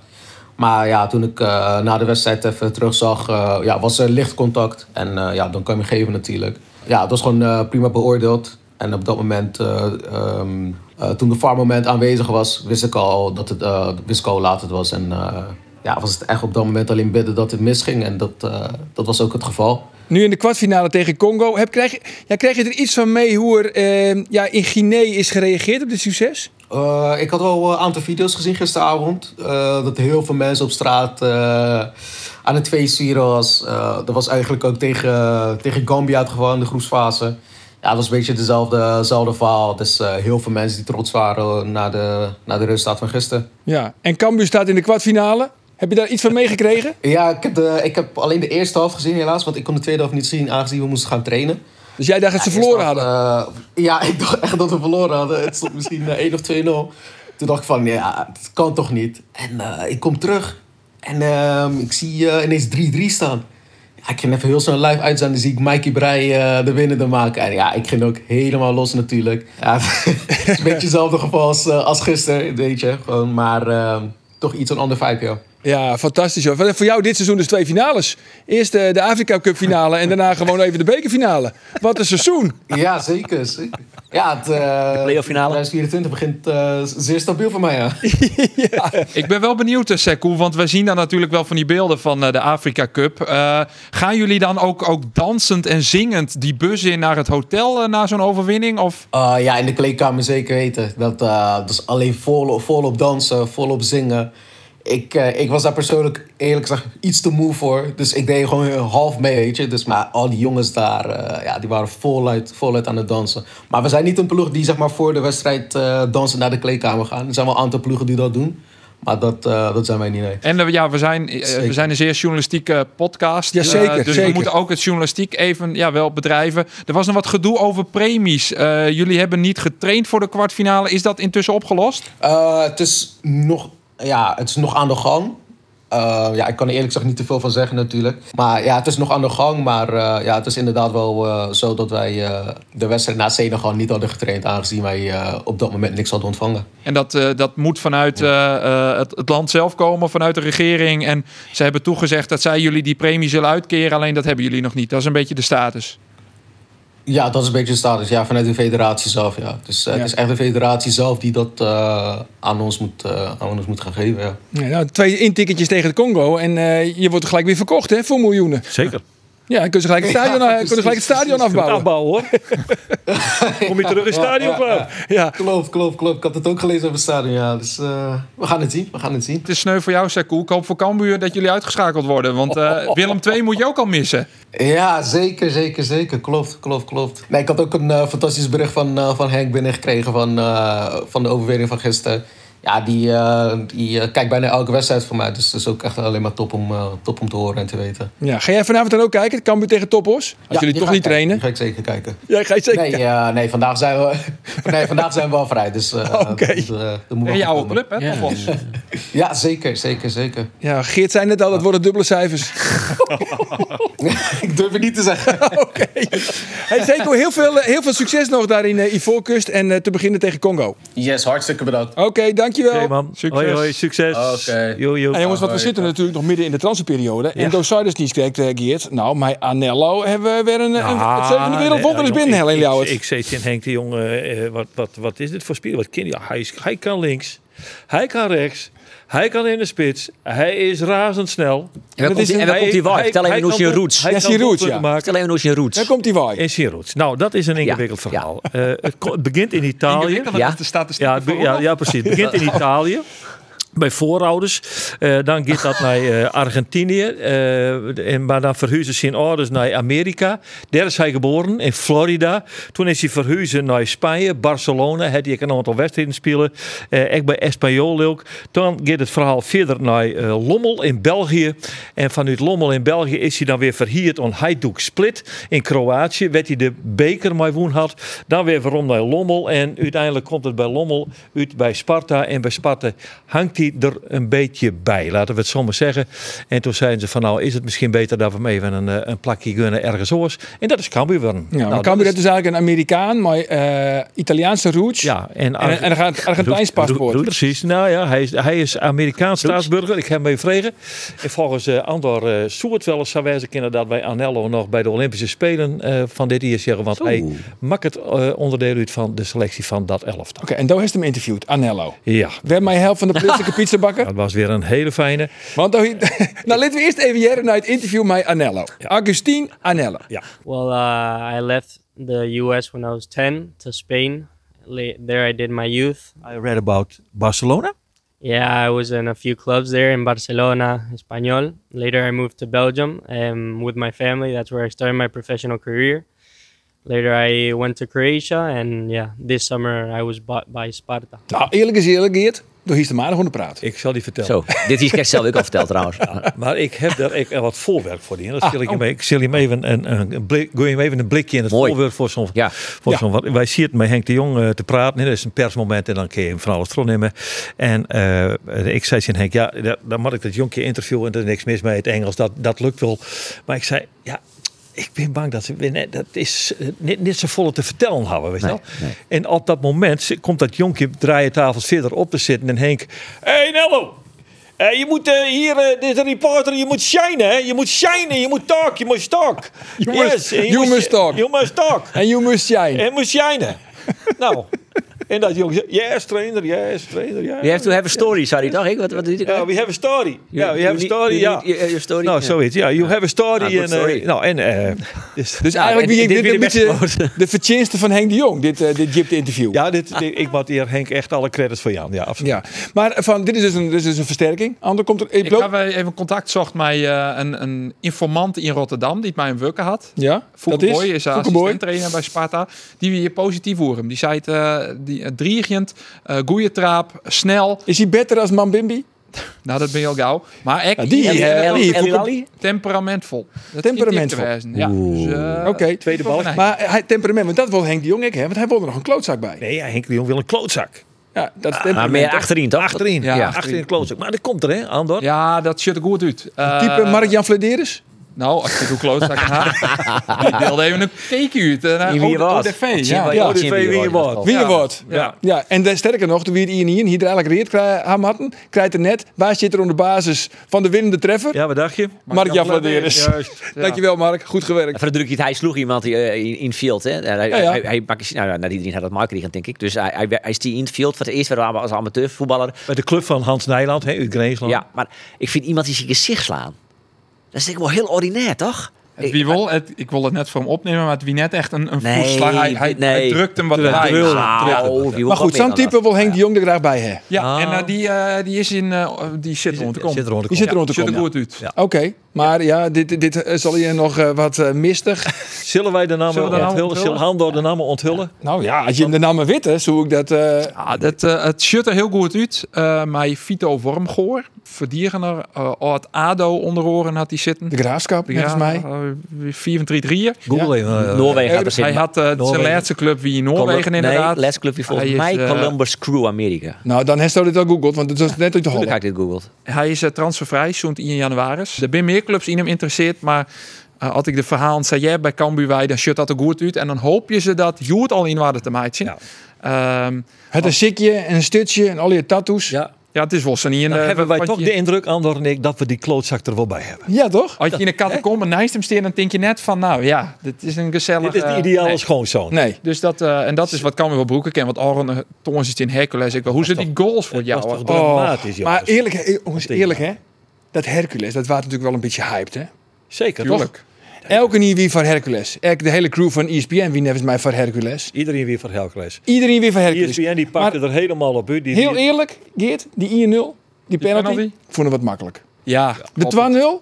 Maar ja, toen ik eh, na de wedstrijd even terugzag, eh ja, was er licht contact. En eh, ja, dan kan je hem geven natuurlijk. Ja, het was gewoon eh, prima beoordeeld. En op dat moment, eh, ehm, eh, toen de VAR-moment aanwezig was, wist ik al, dat het, eh, wist ik al hoe laat het was. En eh, ja, was het echt op dat moment alleen bidden dat het misging. En dat, eh, dat was ook het geval.
Nu in de kwartfinale tegen Congo. Heb, krijg, je- ja, krijg je er iets van mee hoe er eh, ja, in Guinea is gereageerd op dit succes?
Eh, ik had wel een aantal video's gezien gisteravond. eh, dat heel veel mensen op straat eh, aan het feestvieren was. Eh, dat was eigenlijk ook tegen, tegen Gambia het geval in de groepsfase. Ja, dat was een beetje dezelfde, dezelfde verhaal. Dus eh, heel veel mensen die trots waren eh, na de, na de resultaat van gisteren.
Ja. En Cambuur staat in de kwartfinale. Heb je daar iets van meegekregen?
Ja, ik heb, de, ik heb alleen de eerste helft gezien helaas. Want ik kon de tweede helft niet zien aangezien we moesten gaan trainen.
Dus jij dacht dat ze verloren hadden?
Eh, ja, ik dacht echt dat we verloren hadden. Het stond misschien eh, 1 of 2-0. Toen dacht ik van, ja, het kan toch niet. En eh, ik kom terug. En ehm, ik zie eh, ineens 3-3 staan. Ja, ik ging even heel snel live uitzenden. Dan zie ik Mikey Brei eh, de winnende maken. En ja, ik ging ook helemaal los natuurlijk. Ja, het is een beetje hetzelfde geval als, eh, als gisteren, weet je. Gewoon, maar ehm, toch iets een ander vibe, joh.
Ja, fantastisch. Hoor. Voor jou dit seizoen dus twee finales. Eerst eh, de Afrika Cup finale en daarna gewoon even de bekerfinale. Wat een seizoen.
Ja, zeker. zeker. Ja, het eh
playoff finale.
2024 begint eh, zeer stabiel voor mij, ja.
Ik ben wel benieuwd, eh, Sekou, want we zien dan natuurlijk wel van die beelden van eh, de Afrika Cup. Eh, gaan jullie dan ook, ook dansend en zingend die bus in naar het hotel eh, na zo'n overwinning? Of
Eh, ja, in de kleedkamer zeker weten. Dat, eh, dat is alleen volop, volop dansen, volop zingen. Ik, eh, ik was daar persoonlijk eerlijk gezegd iets te moe voor. Dus ik deed gewoon half mee, weet je. Dus, maar al die jongens daar, eh, ja, die waren voluit, voluit aan het dansen. Maar we zijn niet een ploeg die zeg maar, voor de wedstrijd eh, dansen naar de kleedkamer gaan. Er zijn wel een aantal ploegen die dat doen. Maar dat, eh, dat zijn wij niet, nee.
En eh, ja, we zijn, eh, we
Zeker.
zijn een zeer journalistieke podcast.
Ja,
Eh,
zeker,
dus
zeker.
we moeten ook het journalistiek even ja, wel bedrijven. Er was nog wat gedoe over premies. Eh, jullie hebben niet getraind voor de kwartfinale. Is dat intussen opgelost?
Eh, het, is nog, ja, het is nog aan de gang. Eh, ja, ik kan er eerlijk gezegd niet te veel van zeggen natuurlijk. Maar ja, het is nog aan de gang. Maar eh, ja, het is inderdaad wel eh, zo dat wij eh, de wedstrijd na Senegal niet hadden getraind. Aangezien wij eh, op dat moment niks hadden ontvangen.
En dat, eh, dat moet vanuit eh, eh, het, het land zelf komen, vanuit de regering. En ze hebben toegezegd dat zij jullie die premie zullen uitkeren. Alleen dat hebben jullie nog niet. Dat is een beetje de status.
Ja, dat is een beetje de status. Ja, vanuit de federatie zelf. Ja. Dus eh,
Ja.
het is echt de federatie zelf die dat eh, aan, ons moet, eh, aan ons moet gaan geven. Ja.
Ja, nou, twee intikketjes tegen het Congo en eh, je wordt gelijk weer verkocht hè, voor miljoenen.
Zeker.
Ja, dan kunnen ze gelijk het stadion,
Ja,
eh, kunnen ze gelijk het stadion afbouwen.
Afbouwen hoor. Kom je terug in het stadion klaar. Ja.
Klopt, klopt, klopt. Ik had het ook gelezen over het stadion. Ja. Dus eh, we gaan het zien. We gaan het zien.
Het is sneu voor jou, Sekou. Ik hoop voor Cambuur dat jullie uitgeschakeld worden. Want
Oh.
eh, Willem II moet je ook al missen.
Ja, zeker, zeker, zeker. Klopt, klopt, klopt. Nee, ik had ook een eh, fantastisch bericht van, eh, van Henk binnengekregen van, eh, van de overwinning van gisteren. Ja, die, eh, die eh, kijkt bijna elke wedstrijd voor mij. Dus dat is ook echt alleen maar top om, eh, top om te horen en te weten.
Ja, ga jij vanavond dan ook kijken? Het Cambuur tegen Topos. Als
Ja,
jullie
die
toch
ga
niet
ik kijken.
trainen.
Die ga ik zeker kijken.
Ja, ga je zeker
Nee,
kijken.
eh, nee, vandaag zijn we, nee, vandaag zijn we wel vrij. Dus, eh
Oké.
dat, eh, dat moet
Tegen
wel
je
goed
oude
komen.
club, hè? Nou, Topos?
Ja, zeker, zeker, zeker.
Ja, Geert zei net al, dat worden dubbele cijfers.
ik durf het niet te zeggen.
Oké. Hey, Zeko, heel veel, eh, heel veel succes nog daar in eh, Ivoorkust en eh, te beginnen tegen Congo.
Yes, hartstikke bedankt.
Oké, dankjewel.
Oké man.
Succes.
Hoi hoi, succes.
Oké.
Yo, yo.
En jongens, want we zitten natuurlijk nog midden in de transferperiode. En Dosidus niet krijgt, eh, Geert. Nou, maar Anello hebben we weer een, een, het zevende wereldwonder is binnen, Helen
Ah, nou, Ik,
Jouwert.
ik zei tegen Henk de Jong, eh, eh, wat, wat, wat is dit voor speler? Wat kind, ja, hij, is- hij kan links, hij kan rechts, hij kan in de spits, hij is razendsnel.
En waar
Dat is
komt die-
een-
en waar
Hij-
komt die waard?
hij-
Vertel
hij
even hoe
kan
je
doel-
roots.
hij
Ja,
kan
zijn roots,
doelpunten
ja.
maken.
Vertel even hoe je
Daar
roots.
komt die waai.
En zijn roots. Nou, dat is een ingewikkeld
ja.
verhaal. Eh, het, ko- het begint in Italië.
Ingewikkelder
Ja.
dan de statistieken
Ja, het be-
van
ja, ja, precies. Het begint in Italië. bij voorouders. Eh, dan gaat dat naar eh, Argentinië. eh, en, maar dan verhuizen zijn ouders naar Amerika. Daar is hij geboren, in Florida. Toen is hij verhuizen naar Spanje, Barcelona. Had hij ook een aantal wedstrijden spelen. Eh echt bij Espanyol ook. Dan gaat het verhaal verder naar eh, Lommel in België. En vanuit Lommel in België is hij dan weer verhierd aan Hajduk Split in Kroatië. Werd hij de beker mee woen had. Dan weer waarom naar Lommel. En uiteindelijk komt het bij Lommel uit bij Sparta. En bij Sparta hangt hij er een beetje bij, laten we het zo maar zeggen. En toen zeiden ze van nou is het misschien beter dat we hem even een, eh, een plakje gunnen ergens anders. En dat is Cambuur worden.
Ja, maar
Nou,
Cambuur
dat
dat is eigenlijk een Amerikaan, maar eh, Italiaans roots.
Ja, en,
En, en dan gaat het Argentijns paspoort.
Doe- doe- Precies, nou ja, hij is, hij is Amerikaans staatsburger. Ik heb hem even vregen. En volgens eh, Andor eh Soert wel eens zou wijzen inderdaad bij Anello nog bij de Olympische Spelen eh, van dit jaar zeggen. Want hij maakt het eh, onderdeel uit van de selectie van dat elftal.
Oké, en daar heeft hem interviewd, Anello.
Ja,
Werd mij helft van de plaatselijke pizzabakker.
dat was weer een hele fijne.
Want dan, nou, laten we eerst even jaren naar het interview met Anello. Augustine Anello.
Ja.
Well, uh, I left the U.S. when I was 10 to Spain. La- There I did my youth.
I read about Barcelona.
Yeah, I was in a few clubs there in Barcelona, Espanyol. Later, I moved to Belgium um, with my family. That's where I started my professional career. Later, I went to Croatia, and yeah, this summer I was bought by Sparta.
Nou, eerlijk is eerlijk, Geert. Door hier is de maandag onder praat.
Ik zal die vertellen.
Zo, dit is ik zelf ook al verteld trouwens.
Maar ik heb daar ik, wat voorwerk voor die. Dat stel ik, hem, ik stel hem even een, een, een blik, gooi hem even een blikje in het
Mooi.
voorwerp voor zo'n.
Ja.
Voor zo'n want wij zien het met Henk de Jong eh, te praten. En dat is een persmoment en dan kun je hem van alles terugnemen. En eh, ik zei tegen Henk, ja, da- dan mag ik dat jonkje interviewen en er is niks mis mee. Het Engels, dat, dat lukt wel. Maar ik zei, ja, ik ben bang dat ze weer net- dat is eh, niet, niet zo volle te vertellen hebben, weet je wel. En op dat moment zit- komt dat jonkje draaientafels verder op te zitten en Henk, hé hey, Nello, eh, je moet eh, hier, eh, dit is een reporter, je moet shinen, hè? Je moet shinen, je moet talk, je moet talk.
You must-
en je
you
moet-
must talk.
You must talk.
En you must shine.
En moet shinen. nou, en dat jongen zegt, yes trainer, yes trainer, yes.
You have to have a story, sorry toch? Ik, wat, wat doet ik?
Ja, we have a story. Ja, we have a story,
you
ja.
need- you- your story.
Nou,
Ja.
zoiets. Ja, you have a story.
Ah, good
en, eh,
story.
nou, en... eh, dus
Dus eigenlijk
en
wie ik
dit
dit
weer
een
de
beetje
beste-
de vertjenste van Henk de Jong, dit, eh, dit jipte interview.
ja, dit, dit- ik moet hier Henk echt alle credits voor Jan. Ja, absoluut.
Ja, maar van, dit is dus een, dit is dus een versterking. Ander komt er.
Ik heb eh, even contact zocht met eh, een, een informant in Rotterdam die het mij een wukken had.
ja, dat
Foukeboy
is.
is, een
Foukeboy.
assistent trainer bij Sparta. Die we hier positief horen. Die zei het eh, die, eh, driegend, eh, goeie traap, snel.
Is hij beter als Mambimbi?
Nou, dat ben je al gauw. Maar echt,
Ja, die,
iedereen
eh,
wel
die
een
Ellie
goed-
Lally?
temperamentvol. Dat
Temperamentvol.
is een diepte wezen, Ja. Dus, eh,
Oké,
tweede bal.
Nee.
maar hij, temperament, want dat wil Henk de Jong ook hè, want hij wil er nog een klootzak bij.
Nee, ja, Henk de Jong wil een klootzak.
Ja, dat is
Maar
temperament.
meer
toch?
achterin toch?
Achterin.
Ja,
Ja,
achterin.
achterin een klootzak. Maar dat komt er, hè, Andor?
ja, dat ziet er goed uit. Eh,
Type Mark-Jan Flederis?
Nou, als je doet klootzak gaat. Die deelde even een keekje uit. eh, naar
In wie je
Ode-
was.
ODV, ja.
Ja,
Chimba- Chimba-
ODV Oh, wie je was.
Wie je
Ja.
wordt.
Ja.
Ja, en de- sterker nog, toen we het hier hier eigenlijk reed aan hadden, krijgt er net, waar zit er onder basis van de winnende treffer?
Ja, wat dacht je?
Mark Jan Vladeris.
Juist.
Ja.
Dankjewel Mark, goed gewerkt.
Even de drukje, hij sloeg iemand eh, in, in het field. Hè. Hij,
Ja, ja.
hij, hij maakte- nou, ja, nou, iedereen had dat maken liggen, denk ik. Dus hij, hij, hij stie in het field. Voor het eerst waren we als amateurvoetballer.
Bij de club van Hans Nijland, hè, uit Greensland.
Ja, maar ik vind iemand die zijn gezicht slaan. Dat is denk ik wel heel ordinair, toch?
Het wie wil, het, ik wil het net voor hem opnemen, maar het wie net echt een, een voetslag. Hij, hij,
nee.
hij drukt hem wat
Druk-
erbij.
drul-
Ja,
Nou,
ja.
wie wil
Maar goed,
wat meer
zo'n
dan
type
dat?
wil Henk de Jong er graag bij hebben.
Ja,
Ah.
en eh, die, eh, die is in, eh, die zit er
Zit,
onder de kom.
zit er onder de
Die
kom.
zit er onder te
Ziet er
komen.
goed uit.
Ja.
Oké, maar ja, dit, dit eh, zal hier nog eh, wat eh, mistig.
Zullen wij de namen
Zullen we de namen
onthullen?
onthullen?
Zullen Handor de namen onthullen?
Nou ja, als je hem de namen weet, hè, zo ik dat. eh,
Ja, dat, eh, het shirt er heel goed uit. Eh maar Vito Wormgoor, verdierener, eh uit ADO onder oren had hij zitten.
de graafschap, volgens mij.
eh, 4-3-3'er.
Google even.
Noorwegen gaat er
Hij
zitten.
had eh, zijn
Noorwegen.
laatste club wie in
Colum-
Noorwegen inderdaad.
Nee, laatste club die volgens
Hij is,
mij
eh,
Columbus Crew Amerika.
Nou, dan heeft hij dit al googeld, want het was net uit de
Toen
hal.
heb ik dit googeld.
Hij is eh, transfervrij, zo'n 1 januari. Er zijn meer clubs in hem interesseerd, maar eh, had ik de verhaal zei jij bij Cambuur wij, dan shut dat er goed uit. En dan hoop je ze dat Joert al in waarde te Ehm, maken.
Ja.
Ja.
Het een sikje en een stutje en al je tattoos. Ja,
Ja,
ja, het is wel zo niet in
dan
de-
hebben wij
want
toch
je-
de indruk, Andor en ik, dat we die klootzak er wel bij hebben.
toch?
Als je in een catacombe naast hem staat, dan denk je net van, nou ja, dit is een gezellig...
Dit is de
eh,
ideale
nee.
schoonzoon.
Nee.
Dus dat, eh, en dat is wat Cambuur wel broeken kennen, want Aron eh, Toorns is in Hercules. Ik wel, hoe zijn die goals voor
Dat is
jou?
toch dramatisch,
Oh, maar
jongens.
eerlijk, hè, jongens,
Tegen.
eerlijk hè? Dat Hercules, dat waard natuurlijk wel een beetje hyped, hè?
Zeker, toch?
Tuurlijk. Elke nieuw wie van Hercules. Elk- De hele crew van E ESPN, wie nevens mij van Hercules.
Iedereen weer van Hercules. E
Iedereen weer van Hercules.
ESPN die pakte
Maar
er helemaal op. u. Die,
heel
die-
eerlijk, Geert, die 1-0. die penalty,
penalty?
vonden we wat makkelijk.
Ja,
De 12-0,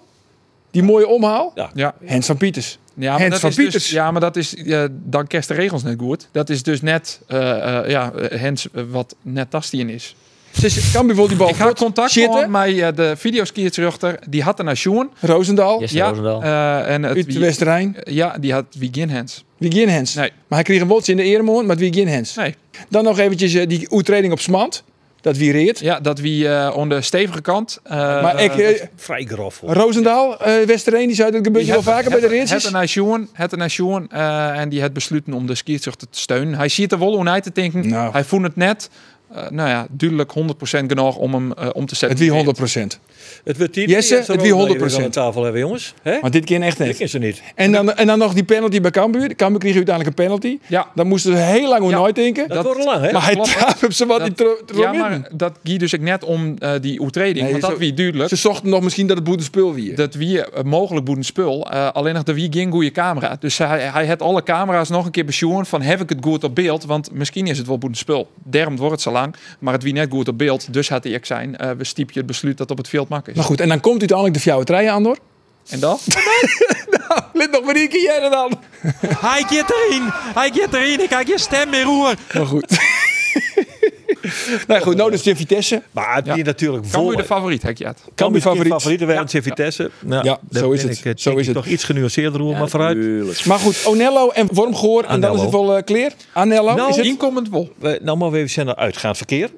die mooie omhaal,
Ja.
Hens van Pieters.
Ja, maar
Hens
dat
van
is dus-
Pieters.
ja, maar dat is eh, dan kerst de regels net goed. Dat is dus net eh, eh, ja, eh, Hens eh, wat net Tastien is.
Dus kan bijvoorbeeld die bal
Ik had contact
zitten.
gehad met eh, de videoskiertruchter. Die had er naar Sjoen.
Roosendaal,
Jesse
Ja,
Roosendaal.
eh, en het
uit de Westerijn.
Ja, die had Wiegin Hens.
Wiegin Hens.
Nee.
Maar hij kreeg een wots in de eremoord, maar Wiegin Hens.
Nee.
Dan nog eventjes eh, die oetreding op Smand. Dat wie reert.
Ja, dat wie eh, aan de stevige kant. eh,
maar ik, eh,
Vrij grof. hoor.
Roosendaal, eh Westereen, die zei dat gebeurt
die
wel
had-
vaker bij de
had-
reertjes.
had er naar Sjoen, had er naar Sjoen, eh, en die had besloten om de skiertruchter te steunen. Hij ziet er wel hoe hij te denken.
Nou.
Hij vond het net, eh, nou ja, duidelijk 100% genoeg om hem eh, om te
Het
zetten.
wie 100 procent.
Het wordt die
Jesse,
die
het wie 100%.
die we aan tafel hebben, jongens. Hè?
Maar dit keer echt
Dat
net.
is er niet.
En dan, en dan nog die penalty bij Cambuur. Cambuur kreeg uiteindelijk een penalty.
Ja.
Dan moesten ze heel lang hoe nooit denken.
Dat, wordt lang, hè?
maar hij
klopt.
trapte op zijn wat die tro- tro-
Ja,
in.
maar dat ging dus ik net om eh, die oetreding.
Nee,
want dat
zo-
wie duidelijk.
Ze zochten nog misschien dat het boetenspul weer.
Dat wie eh, mogelijk boet een spul. eh, alleen nog de wie ging goede camera. Dus hij, hij had alle camera's nog een keer besjoen van heb ik het goed op beeld? Want misschien is het wel boet een spul. Derm wordt het zo lang. Maar het wie net goed op beeld. Dus had hij ook zijn. eh, we stiep je het besluit dat op het veld mak is.
Maar goed, en dan komt uiteindelijk de fjouwe treien aan door.
En dat?
Lid nog maar één keer jij er dan.
Hij gaat erin. Hij gaat erin. Ik kijk je stem meer roer.
Maar goed. nou goed, nou dus de Vitesse.
Maar het die natuurlijk
Kan
vol.
u de favoriet, Hekjaat?
Kan
Cambuur
die favoriet.
favorieten wij ja. Vitesse. Nou,
Ja,
daar
zo is
ben
het.
ik, eh,
Zo
denk
is
ik
het.
Toch iets genuanceerder hoe, maar vooruit.
Maar goed, Onello en Wormgoor. En dan is het
Anello.
wel eh, clear. Anello
Nou,
is het?
Inkomend wol.
We, nou, maar we even zijn naar uitgaand verkeer.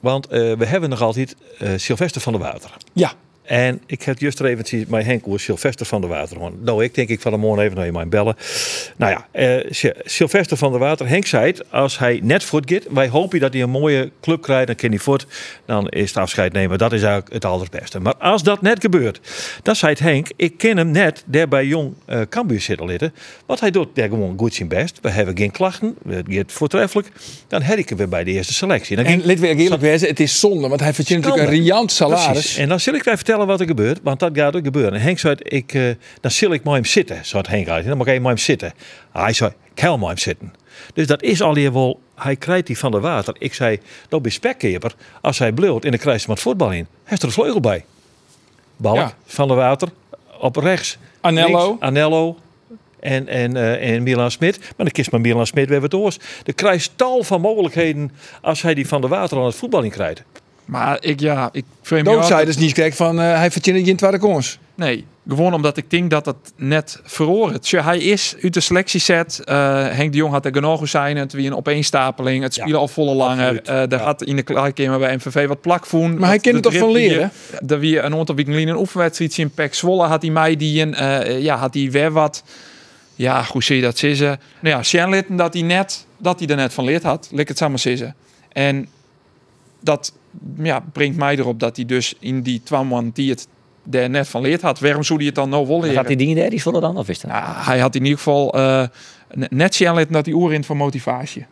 Want eh, we hebben nog altijd eh, Sylvester van der Water.
Ja.
En ik heb juist er eventjes mijn Henk over Sylvester van der Water. gewoon. Nou, ik denk ik van de morgen even naar mijn bellen. Nou ja, eh, Sy- Sylvester van der Water. Henk zei het, als hij net voort gaat, wij hopen dat hij een mooie club krijgt. Dan kan hij voort, dan is het afscheid nemen. Dat is eigenlijk het allerbeste. Maar als dat net gebeurt, dan zei het Henk, ik ken hem net daar bij Jong eh Cambuur zitten litten. Want hij doet daar gewoon goed zijn best. We hebben geen klachten, het gaat voortreffelijk. Dan heb ik hem weer bij de eerste selectie. Dan
En lid wil ik eerlijk wezen, het is zonde. Want hij verdient natuurlijk een
Schande.
riant salaris.
Precies. En dan zal ik wij vertellen wat er gebeurt, want dat gaat ook gebeuren. En Henk zei, ik, eh, dan zal ik maar hem zitten, zei Henk uit. En Dan mag ik maar hem zitten. Hij zei, ik hel maar hem zitten. Dus dat is alweer wel, hij krijgt die van de water. Ik zei, dat is spekkeper. Als hij bleut en dan krijgt ze wat voetbal in. Hij is er een vleugel bij. Balk
Ja.
van de water, op rechts.
Anello.
links, Anello. En, en, eh, en Milan Smit. Maar dan kiest maar Milan Smit weer wat oors. Er krijgt tal van mogelijkheden als hij die van de water aan het voetbal in krijgt.
Maar ik, ja, ik vreemd me af-
Doodsiders niet krijg van eh, hij verdient het in tweede kans.
Nee, gewoon omdat ik denk dat het net verloren is. Hij is uit de selectieset. Eh Henk de Jong had er genoeg zijn. Het wie een opeenstapeling. Het
Ja,
spelen al volle langer.
absoluut.
Eh daar
Ja.
had in de klaarkamer bij MVV wat plakvoen.
Maar hij
Dat-
kan er
de
toch van
drip die
leren?
je- Dat wie een aantal weken geleden een oefenwedstrijd in Pek Zwolle had hij mij die een. eh, ja, had hij weer wat. Ja, hoe zie je dat zissen? Nou ja, Sjan Litten dat hij net dat hij er net van leerd had. Lik het samen zissen. En dat ja, brengt mij erop dat hij dus in die twamman die het daar net van leerd had. Waarom zou hij het dan nou wel leren?
Gaat die dingen daar, die zullen dan? Of is dat?
Nou, hij had in ieder geval eh, ne- net zien dat hij oer in van motivatie.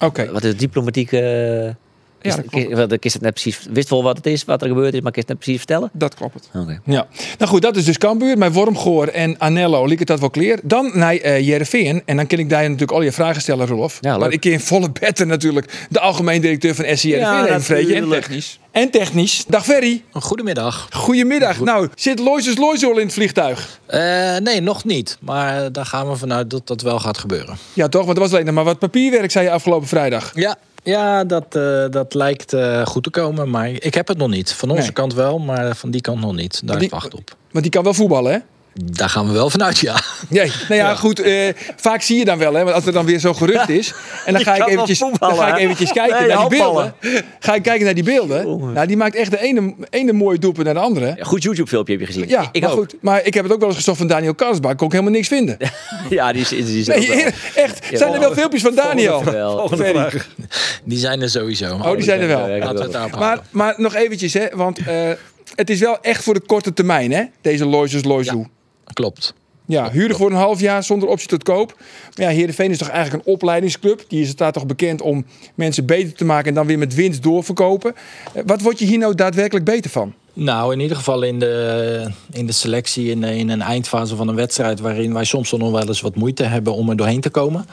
Oké.
Wat is diplomatieke...
Ja,
Ja,
dat
dat
klopt.
het net precies, wist wel wat het is, wat er gebeurd is, maar kist het net precies vertellen?
Dat klopt. het.
Oké.
Ja. Nou goed, dat is dus Cambuur. Mijn Wormgoor en Anello liet het dat wel clear. Dan naar eh Jereveen. En dan kan ik daar natuurlijk al je vragen stellen, Rolf.
Ja, leuk.
maar ik keer in volle betten natuurlijk de algemeen directeur van SC Jereveen even vreten.
En technisch.
En technisch. Dag Ferry.
Een Goedemiddag.
Goedemiddag. Nou, zit Loises Loijs al in het vliegtuig?
Eh, nee, nog niet. Maar daar gaan we vanuit dat dat wel gaat gebeuren.
Ja toch, want er was alleen nog maar wat papierwerk, zei je afgelopen vrijdag.
Ja, ja dat, eh, dat lijkt eh, goed te komen. Maar ik heb het nog niet. Van onze
Nee.
kant wel, maar van die kant nog niet. Daar
die-
wacht op.
Want die kan wel voetballen, hè?
Daar gaan we wel vanuit, ja.
Nee, nou ja, goed. eh, vaak zie je dan wel, hè, want als er dan weer zo'n gerucht is. En dan ga, ik
kan wel
eventjes, dan
voetballen,
ga ik
hè?
eventjes kijken
Nee,
naar die beelden.
handballen.
Ga ik kijken naar die beelden. Nou, die maakt echt de ene, ene mooie doelpunt naar de andere.
Ja, goed YouTube-filmpje heb je gezien.
Ja,
ik
maar
ook.
goed. Maar ik heb het ook wel eens gezocht van Daniel Karlsbach. Kon ik helemaal niks vinden.
Ja, die is, die is- die is ook wel.
Nee, echt. Zijn er wel filmpjes van Daniel?
Wel.
Ferry.
Die zijn er sowieso. Maar
Oh, die zijn er wel.
Laten we het daarop
Maar,
houden.
maar nog eventjes, hè, want eh, het is wel echt voor de korte termijn, hè? Deze Loises Loisoe.
Klopt.
Ja, huurder voor een half jaar zonder optie tot koop. Maar ja, Heerenveen is toch eigenlijk een opleidingsclub. Die is daar toch bekend om mensen beter te maken en dan weer met winst doorverkopen. Eh, Wat word je hier nou daadwerkelijk beter van?
Nou, in ieder geval in de, in de selectie, in, in een eindfase van een wedstrijd... waarin wij soms nog wel eens wat moeite hebben om er doorheen te komen.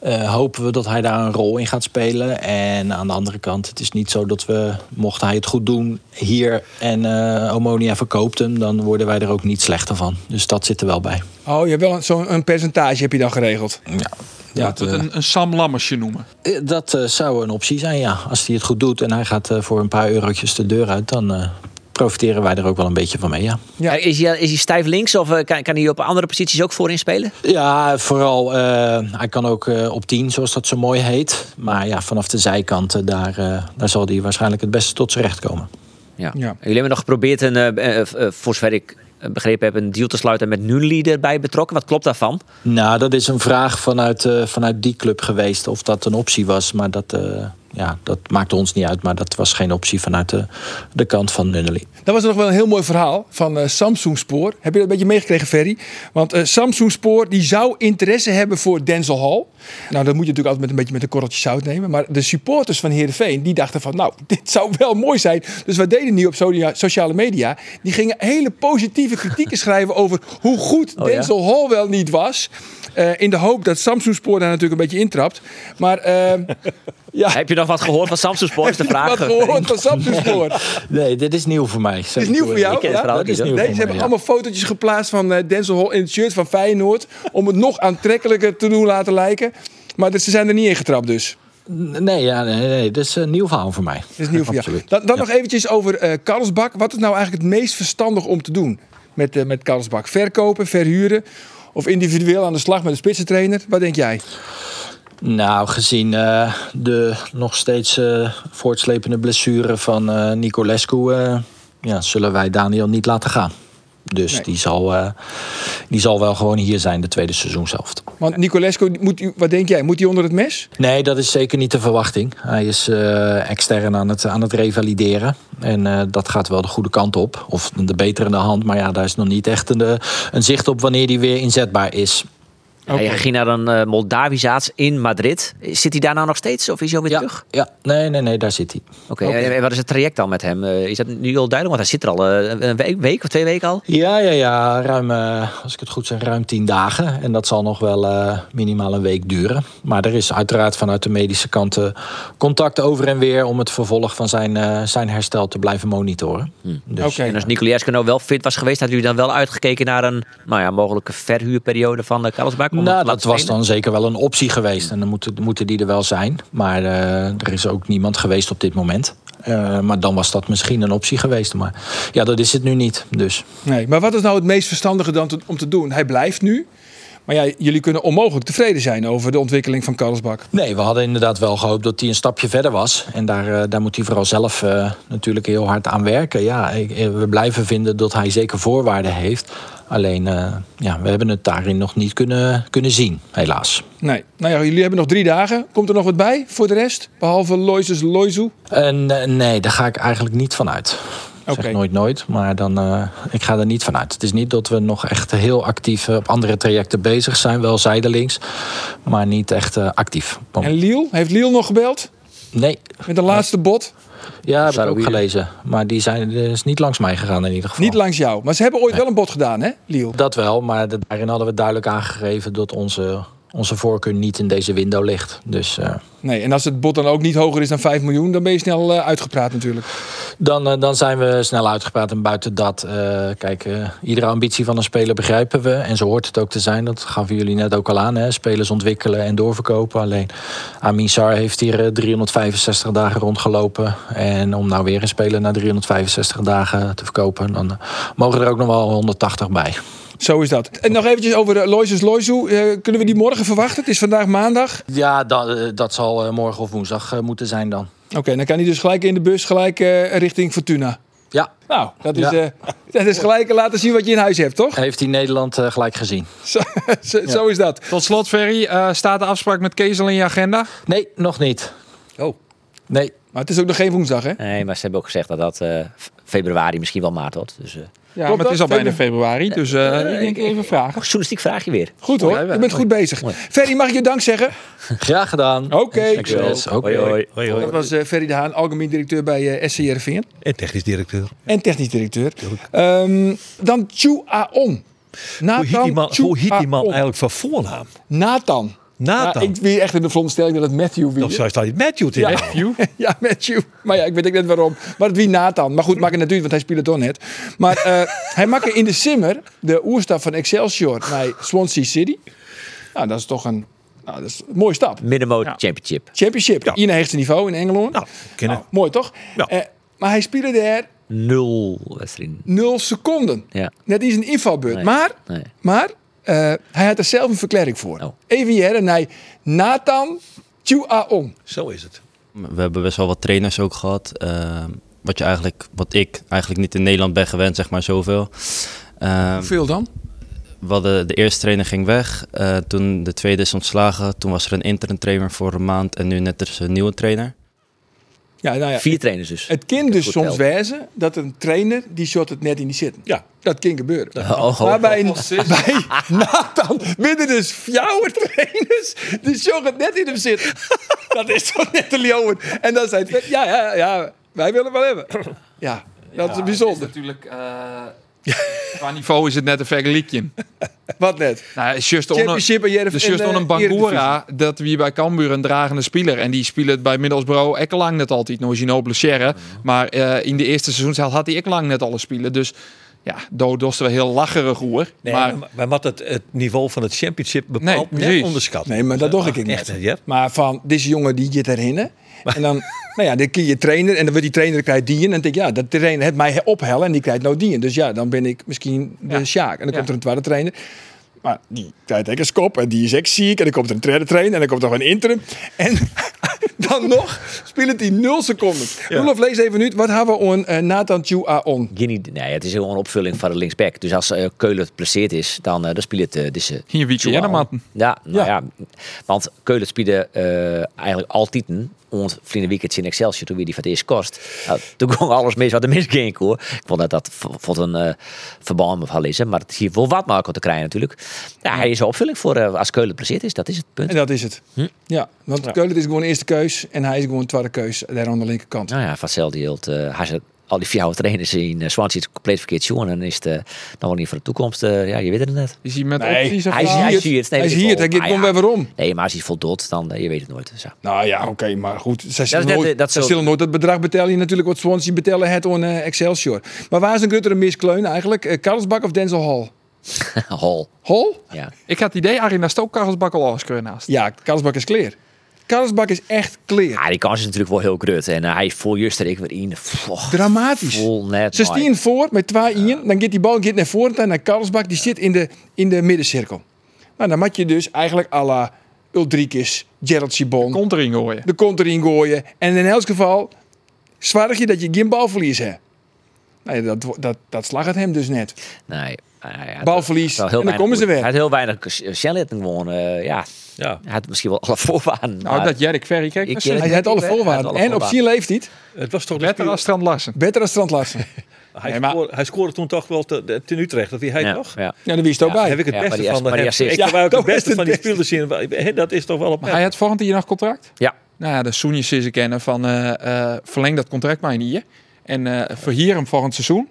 Eh,
eh, hopen we dat hij daar een rol in gaat spelen. En aan de andere kant, het is niet zo dat we, mocht hij het goed doen hier en eh Omonia verkoopt hem, dan worden wij er ook niet slechter van. Dus dat zit er wel bij.
Oh, je hebt wel een- zo'n een percentage heb je dan geregeld.
Ja.
Ja, tot
eh,
een, een Sam Lammersje noemen.
Eh, Dat eh, zou een optie zijn, ja. Als hij het goed doet en hij gaat eh, voor een paar eurotjes de deur uit, dan eh, profiteren wij er ook wel een beetje van mee, ja.
Ja. Eh, Is, hij, is hij stijf links of eh, kan, kan hij op andere posities ook voorin spelen?
Ja, vooral. eh, hij kan ook eh, op 10, zoals dat zo mooi heet. Maar ja, vanaf de zijkanten, daar, eh, daar zal hij waarschijnlijk het beste tot zijn recht komen.
Ja. Jullie hebben nog geprobeerd, een, eh, eh, eh, voor zover ik eh, begrepen heb, een deal te sluiten met Nunli erbij betrokken. Wat klopt daarvan?
Nou, dat is een vraag vanuit, eh, vanuit die club geweest of dat een optie was. Maar dat, eh, ja, dat maakte ons niet uit. Maar dat was geen optie vanuit de, de kant van Nunnely.
Dan was er nog wel een heel mooi verhaal van eh Samsung Spoor. Heb je dat een beetje meegekregen, Ferry? Want eh Samsung Spoor die zou interesse hebben voor Denzel Hall. Nou, dat moet je natuurlijk altijd met een beetje met een korreltje zout nemen. Maar de supporters van Heerenveen die dachten van, nou, dit zou wel mooi zijn. Dus wat deden die op so- sociale media? Die gingen hele positieve kritieken schrijven over hoe goed
Oh, ja?
Denzel Hall wel niet was. Eh, in de hoop dat Samsung Spoor daar natuurlijk een beetje intrapt. Maar ehm, ja.
Heb je nog wat gehoord van Samsung Sport? Is de vraag.
wat gehoord van Samsung Spoor?
Nee, dit is nieuw voor mij.
Het is nieuw voor jou. ja?
dat is
Nee,
nieuw voor
ze
mij,
hebben
ja.
allemaal fotootjes geplaatst van eh, Denzel Hall in het shirt van Feyenoord. Om het nog aantrekkelijker te doen laten lijken. Maar dus, ze zijn er niet in getrapt dus.
Nee, ja, nee, nee, Dus, dit is een nieuw verhaal voor mij.
Dat is nieuw voor jou. Dan, dan nog eventjes over eh Karlsbak. Wat is nou eigenlijk het meest verstandig om te doen met, eh, met Karlsbak? Verkopen, verhuren of individueel aan de slag met een spitsentrainer? Wat denk jij?
Nou, gezien eh, de nog steeds eh, voortslepende blessure van eh Nicolescu... eh, ja, zullen wij Daniel niet laten gaan. Dus die, zal, eh, die zal wel gewoon hier zijn, de tweede seizoenshelft.
Want Nicolesco, moet, u- wat denk jij? Moet hij onder het mes?
Nee, dat is zeker niet de verwachting. Hij is eh, extern aan het, aan het revalideren. En eh, dat gaat wel de goede kant op. Of de betere in de hand. Maar ja, daar is nog niet echt een, eh, een zicht op wanneer die weer inzetbaar is.
Hij ging naar een eh Moldavisch arts in Madrid. Zit hij daar nou nog steeds of is hij alweer terug?
Ja, nee, nee, nee, daar zit hij.
Oké,
Oké.
en- en wat is het traject dan met hem? Eh, Is dat nu al duidelijk? Want hij zit er al eh, een week, week of twee weken al.
Ja, ja, ja. Ruim, eh, als ik het goed zeg, ruim tien dagen. En dat zal nog wel eh, minimaal een week duren. Maar er is uiteraard vanuit de medische kant eh, contact over en weer... om het vervolg van zijn, eh, zijn herstel te blijven monitoren. Dus.
En als Nicolaas nou wel fit was geweest, had u dan wel uitgekeken naar een nou ja, mogelijke verhuurperiode van uh, Karlsbak? om het
Nou,
te
dat
laten
was
trainen?
dan zeker wel een optie geweest. En dan moeten, moeten die er wel zijn. Maar eh, er is ook niemand geweest op dit moment. Eh, maar dan was dat misschien een optie geweest. Maar ja, dat is het nu niet. Dus.
Nee, maar wat is nou het meest verstandige dan te- om te doen? Hij blijft nu. Maar ja, jullie kunnen onmogelijk tevreden zijn over de ontwikkeling van Karlsbak.
Nee, we hadden inderdaad wel gehoopt dat hij een stapje verder was. En daar, eh, daar moet hij vooral zelf eh, natuurlijk heel hard aan werken. Ja, ik- eh, we blijven vinden dat hij zeker voorwaarden heeft. Alleen, eh, ja, we hebben het daarin nog niet kunnen, kunnen zien, helaas.
Nee. Nou ja, jullie hebben nog drie dagen. Komt er nog wat bij voor de rest? Behalve Loises Loizu?
Eh, nee, nee, daar ga ik eigenlijk niet van uit. Ik Zeg nooit nooit, maar dan, eh, ik ga er niet van uit. Het is niet dat we nog echt heel actief eh, op andere trajecten bezig zijn. Wel zijdelings, maar niet echt eh, actief.
En Liel? Heeft Liel nog gebeld?
Nee.
Met de laatste bot?
Ja, heb ik ook gelezen. Maar die zijn die is niet langs mij gegaan in ieder geval.
Niet langs jou. Maar ze hebben ooit wel een bot gedaan, hè, Liel?
Dat wel, maar da- daarin hadden we duidelijk aangegeven... dat onze, onze voorkeur niet in deze window ligt. Dus... eh,
Nee, en als het bot dan ook niet hoger is dan 5 miljoen, dan ben je snel eh, uitgepraat natuurlijk.
Dan, eh, dan zijn we snel uitgepraat. En buiten dat, eh, kijk, eh, iedere ambitie van een speler begrijpen we. En zo hoort het ook te zijn. Dat gaven jullie net ook al aan. Hè? Spelers ontwikkelen en doorverkopen. Alleen Amin Sar heeft hier eh, 365 dagen rondgelopen. En om nou weer een speler na 365 dagen te verkopen... dan eh, mogen er ook nog wel 180 bij.
Zo is dat. En nog eventjes over eh, Loises Loizu. Eh, kunnen we die morgen verwachten? Het is vandaag maandag.
Ja, dat, eh, dat zal eh, morgen of woensdag eh, moeten zijn dan.
Oké, dan kan hij dus gelijk in de bus, gelijk eh, richting Fortuna.
Ja.
Nou, dat is,
Ja.
eh, dat is gelijk laten zien wat je in huis hebt, toch?
Heeft hij Nederland eh, gelijk gezien?
Zo, zo, zo is dat.
Tot slot, Ferry, eh, staat de afspraak met Kees al in je agenda?
Nee, nog niet.
Oh.
Nee.
Maar het is ook nog geen woensdag, hè?
Nee, maar ze hebben ook gezegd dat dat eh, f- februari, misschien wel maart wordt. Dus, eh,
Ja, maar het is al bijna februari, dus eh, ik denk even vragen.
Journalistiek vraag je weer.
Goed hoor, je bent goed bezig. Ferry, mag ik je dank zeggen?
Graag gedaan.
Oké.
Succes. Oké. Hoi, hoi. Hoi, hoi.
Dat was eh, Ferry de Haan, algemeen directeur bij eh SCRV.
En technisch directeur.
En technisch directeur. Ehm, dan Chu Aon.
Hoe heet die
Nathan
man,
Chu
hoe heet die man
Aon.
eigenlijk van voornaam?
Nathan.
Nathan.
ik wie echt in de veronderstelling dat het Matthew wie.
Of zou staat niet Matthew te
ja.
houden?
ja, Matthew. Maar ja, ik weet ook net waarom. Maar het wie Nathan. Maar goed, maakt het natuurlijk, want hij speelt toch net. Maar eh, hij maakte in de Simmer de oerstap van Excelsior naar Swansea City. Nou, dat is toch een, nou, dat is een mooie stap.
Middenmoot championship.
Championship, in het hoogste niveau in Engeland.
kennen.
Nou, mooi toch? Eh, maar hij speelde daar
Nul wedstrijden.
nul seconden.
Ja.
Net is een invalbeurt.
Nee,
Maar,
nee.
maar eh, hij had er zelf een verklaring voor.
Oh.
Even hier naar Nathan Chuaon.
Zo is het.
We hebben best wel wat trainers ook gehad. eh, wat, je eigenlijk, wat ik eigenlijk niet in Nederland ben gewend, zeg maar zoveel. Eh,
Hoeveel dan?
We hadden, de eerste trainer ging weg. eh, toen de tweede is ontslagen. Toen was er een interim trainer voor een maand. En nu net is een nieuwe trainer.
Ja, nou ja,
Vier trainers dus.
Het kan dus
goed
soms
tellen.
wezen dat een trainer die shot het net in die zitten. Ja. Dat kan gebeuren.
oh, oh,
maar bij,
oh, sis.
bij Nathan binnen dus jouw trainers die shot het net in hem zitten. Dat is toch net de leeuwen. En dan zei het, ja, ja, ja, wij willen wel hebben. Ja, dat is bijzonder.
natuurlijk, eh, Qua niveau is het net een vergelijking.
Wat net?
Nou, is just on-
Championship en Jerv-
dus just
en,
on
eh,
een Bangura, dat we hier bij Cambuur een dragende speler. En die speelt bij Middelsbro ek lang net altijd. Nou, zien op Maar eh, in de eerste seizoen had hij ek lang net alle spelen. Dus ja, do dosten we heel lacherig hoer.
Nee,
maar
maar, maar wat het, het niveau van het championship bepaalt
Nee,
net
precies.
onderschat.
Nee, maar dat dacht ik
Echt,
niet.
ja.
Maar van, deze jongen die je herinneren. En dan, nou ja, dan kun je trainen. En dan wordt die trainer, dan krijgt die in. En dan denk ik, ja, dat trainer heeft mij ophellen. En die krijgt nou die in. Dus ja, dan ben ik misschien de Sjaak. En dan
Ja.
komt er een tweede trainer. Maar die krijgt ook een skop. En die is ook ziek. En dan komt er een derde trainer. En dan komt er nog een interim. En dan nog spelen die nul seconden. Roelof, lees even nu. Wat hebben we aan eh, Nathan Chu-Aon?
Guinea, nee, het is heel een opvulling van de linksback. Dus als eh, Keulen geblesseerd is, dan, eh, dan speelt het eh, dus, eh,
hier wie
Joao.
kennen, man.
Ja, nou ja. want Keulen speelde eh, eigenlijk altijd ons vrienden weekend in Excelsior toen weer die van het eerst kost. Nou, toen kon alles mis wat er mis ging hoor. Ik vond dat dat v- vond een eh verband me van lezen, maar het is hier wel wat Marco te krijgen natuurlijk. Ja, hij is een opvulling voor eh, als Keulen geblesseerd is, dat is het punt.
En dat is het. Ja, want Keulen is gewoon eerste keus. En hij is gewoon tweede keus. Daar aan de linkerkant.
Nou ja, van hetzelfde hield. eh, hij zet al die vier trainers in eh, Swansea het compleet verkeerd jongen. En is het eh, dan wel niet voor de toekomst. eh, ja, je weet het net.
Is hij met
nee,
opties of
Hij is
niet?
hij is hier.
Hij is hier, hij
komt
komt weer waarom.
Nee, maar als hij voldoet, dan eh, je weet het nooit. Zo.
Nou ja, oké, maar goed. Zij
is
zullen,
net,
nooit,
eh, dat
zij
zo-
zullen nooit dat bedrag betalen je natuurlijk wat Swansea betalen het on eh, Excelsior. Maar waar is een grotere miskleun eigenlijk? Eh, Karlsbak of Denzel Hall?
Hol.
Hall?
Ja.
Ik had het idee, Arie, naast ook Karlsbak al als kunnen naast.
Ja, Karlsbak is clear. Karlsbak is echt clear.
Ja, die kans is natuurlijk wel heel groot. En eh, hij voelt juist er ik weer in. Pff,
Dramatisch.
Vol net.
Ze
maar-
stien voor met 2 in, dan gaat die bal gaat naar voren en naar Karlsbak. Die zit in de, in de middencirkel. Nou, dan moet je dus eigenlijk à la Uldrikis, Gerald Sibon. De
kontering gooien.
De kontering gooien. En in elk geval zwaar je dat je geen balverlies hebt. Nou ja, dat, dat, dat slag het hem dus net.
Nee. nou ja,
Balverlies.
wel heel
En dan
weinig
komen ze
goed.
weer.
Hij had heel weinig eh, Shellet gewoon. eh, ja.
ja.
Hij had misschien wel alle voorwaarden.
Nou,
maar-
dat Jerk Verrie, kijk.
Ik- eh,
dat
Hij
zit-
Hij had alle
Hij had alle
voorwaarden. En op
voorwaarden.
zijn leeftijd
Het was toch de
Beter
spuur-
als Strand Larsen.
beter dan Strand Larsen.
Hij, scoorde, hij scoorde toen toch wel te, te- ten Utrecht, dat wie hij
Ja,
toch?
ja.
Ja, daar wist ook
Daar
bij.
heb ik het
Ja,
beste
maar die
van.
as- maar die
hem.
assist.
Ik heb
Ja,
ook
dat
het
was
beste
het
van die spelers zien. Hè, Dat is toch wel op.
Maar hij had volgend jaar nog contract?
Ja.
Nou ja, de Soenjes is kennen van eh, eh, verleng dat contract maar niet hier. En eh verhier hem volgend seizoen.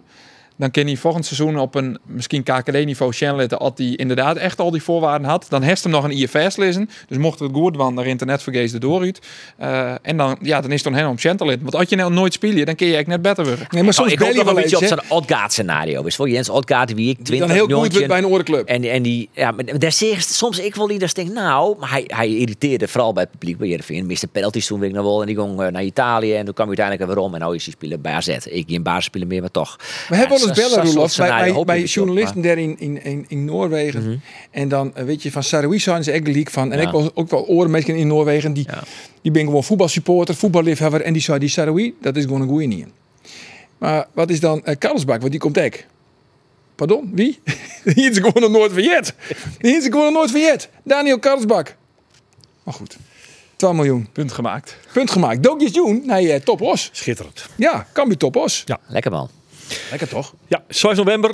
Dan kan hij volgend seizoen op een misschien KKD-niveau channelen. Als hij inderdaad echt al die voorwaarden had. Dan heeft hem nog een IFS lezen. Dus mocht het goed, want naar internet vergeet de dooruit. Eh, en dan, ja, dan is het dan helemaal om channelen. Want als je nou nooit speelt, dan kun je echt net beter worden.
Nee, maar soms
Oh, ik hoop
bel je
nog een
wel
beetje
eens,
op
hè.
zo'n Odgaard scenario. Is voor Jens Odgaard, wie ik 20
Dan heel goed
miljoentje-
wordt bij een orenclub.
En, en die, ja, maar daar zeg soms ik wel ieders denk, nou, maar hij, hij irriteerde vooral bij het publiek bij Jervin. Miste penalties toen weet ik nog wel. En die ging eh, naar Italië. En toen kwam hij uiteindelijk weer om. En nou is hij spelen bij AZ. Ik in baas spelen meer, maar toch.
We hebben wel
Ja,
eens
zo'n-
bellen,
zo'n
Roelof, bij,
scenario
bij,
hoop
bij
ik dus op,
journalisten
maar- Mhm.
daar in, in, in, in Noorwegen. En dan eh, weet je van Saroui zijn ze echt leak van. En
Ja.
ik was ook wel oren mensen in Noorwegen. Die, die ben gewoon voetbalsupporter, voetballiefhebber. En die zei, die Saroui, dat is gewoon een goeie niet. Maar wat is dan eh Karlsbak? Want die komt ek. Pardon, wie? die is gewoon nog nooit verjet. Die is gewoon nog nooit verjet. Daniel Karlsbak. Maar goed, 12 miljoen.
Punt gemaakt.
Punt gemaakt. Donkjes Joen, nee, eh, top os.
Schitterend.
Ja, kan bij top os.
Ja.
Lekker man.
Lekker toch?
Ja, 6 november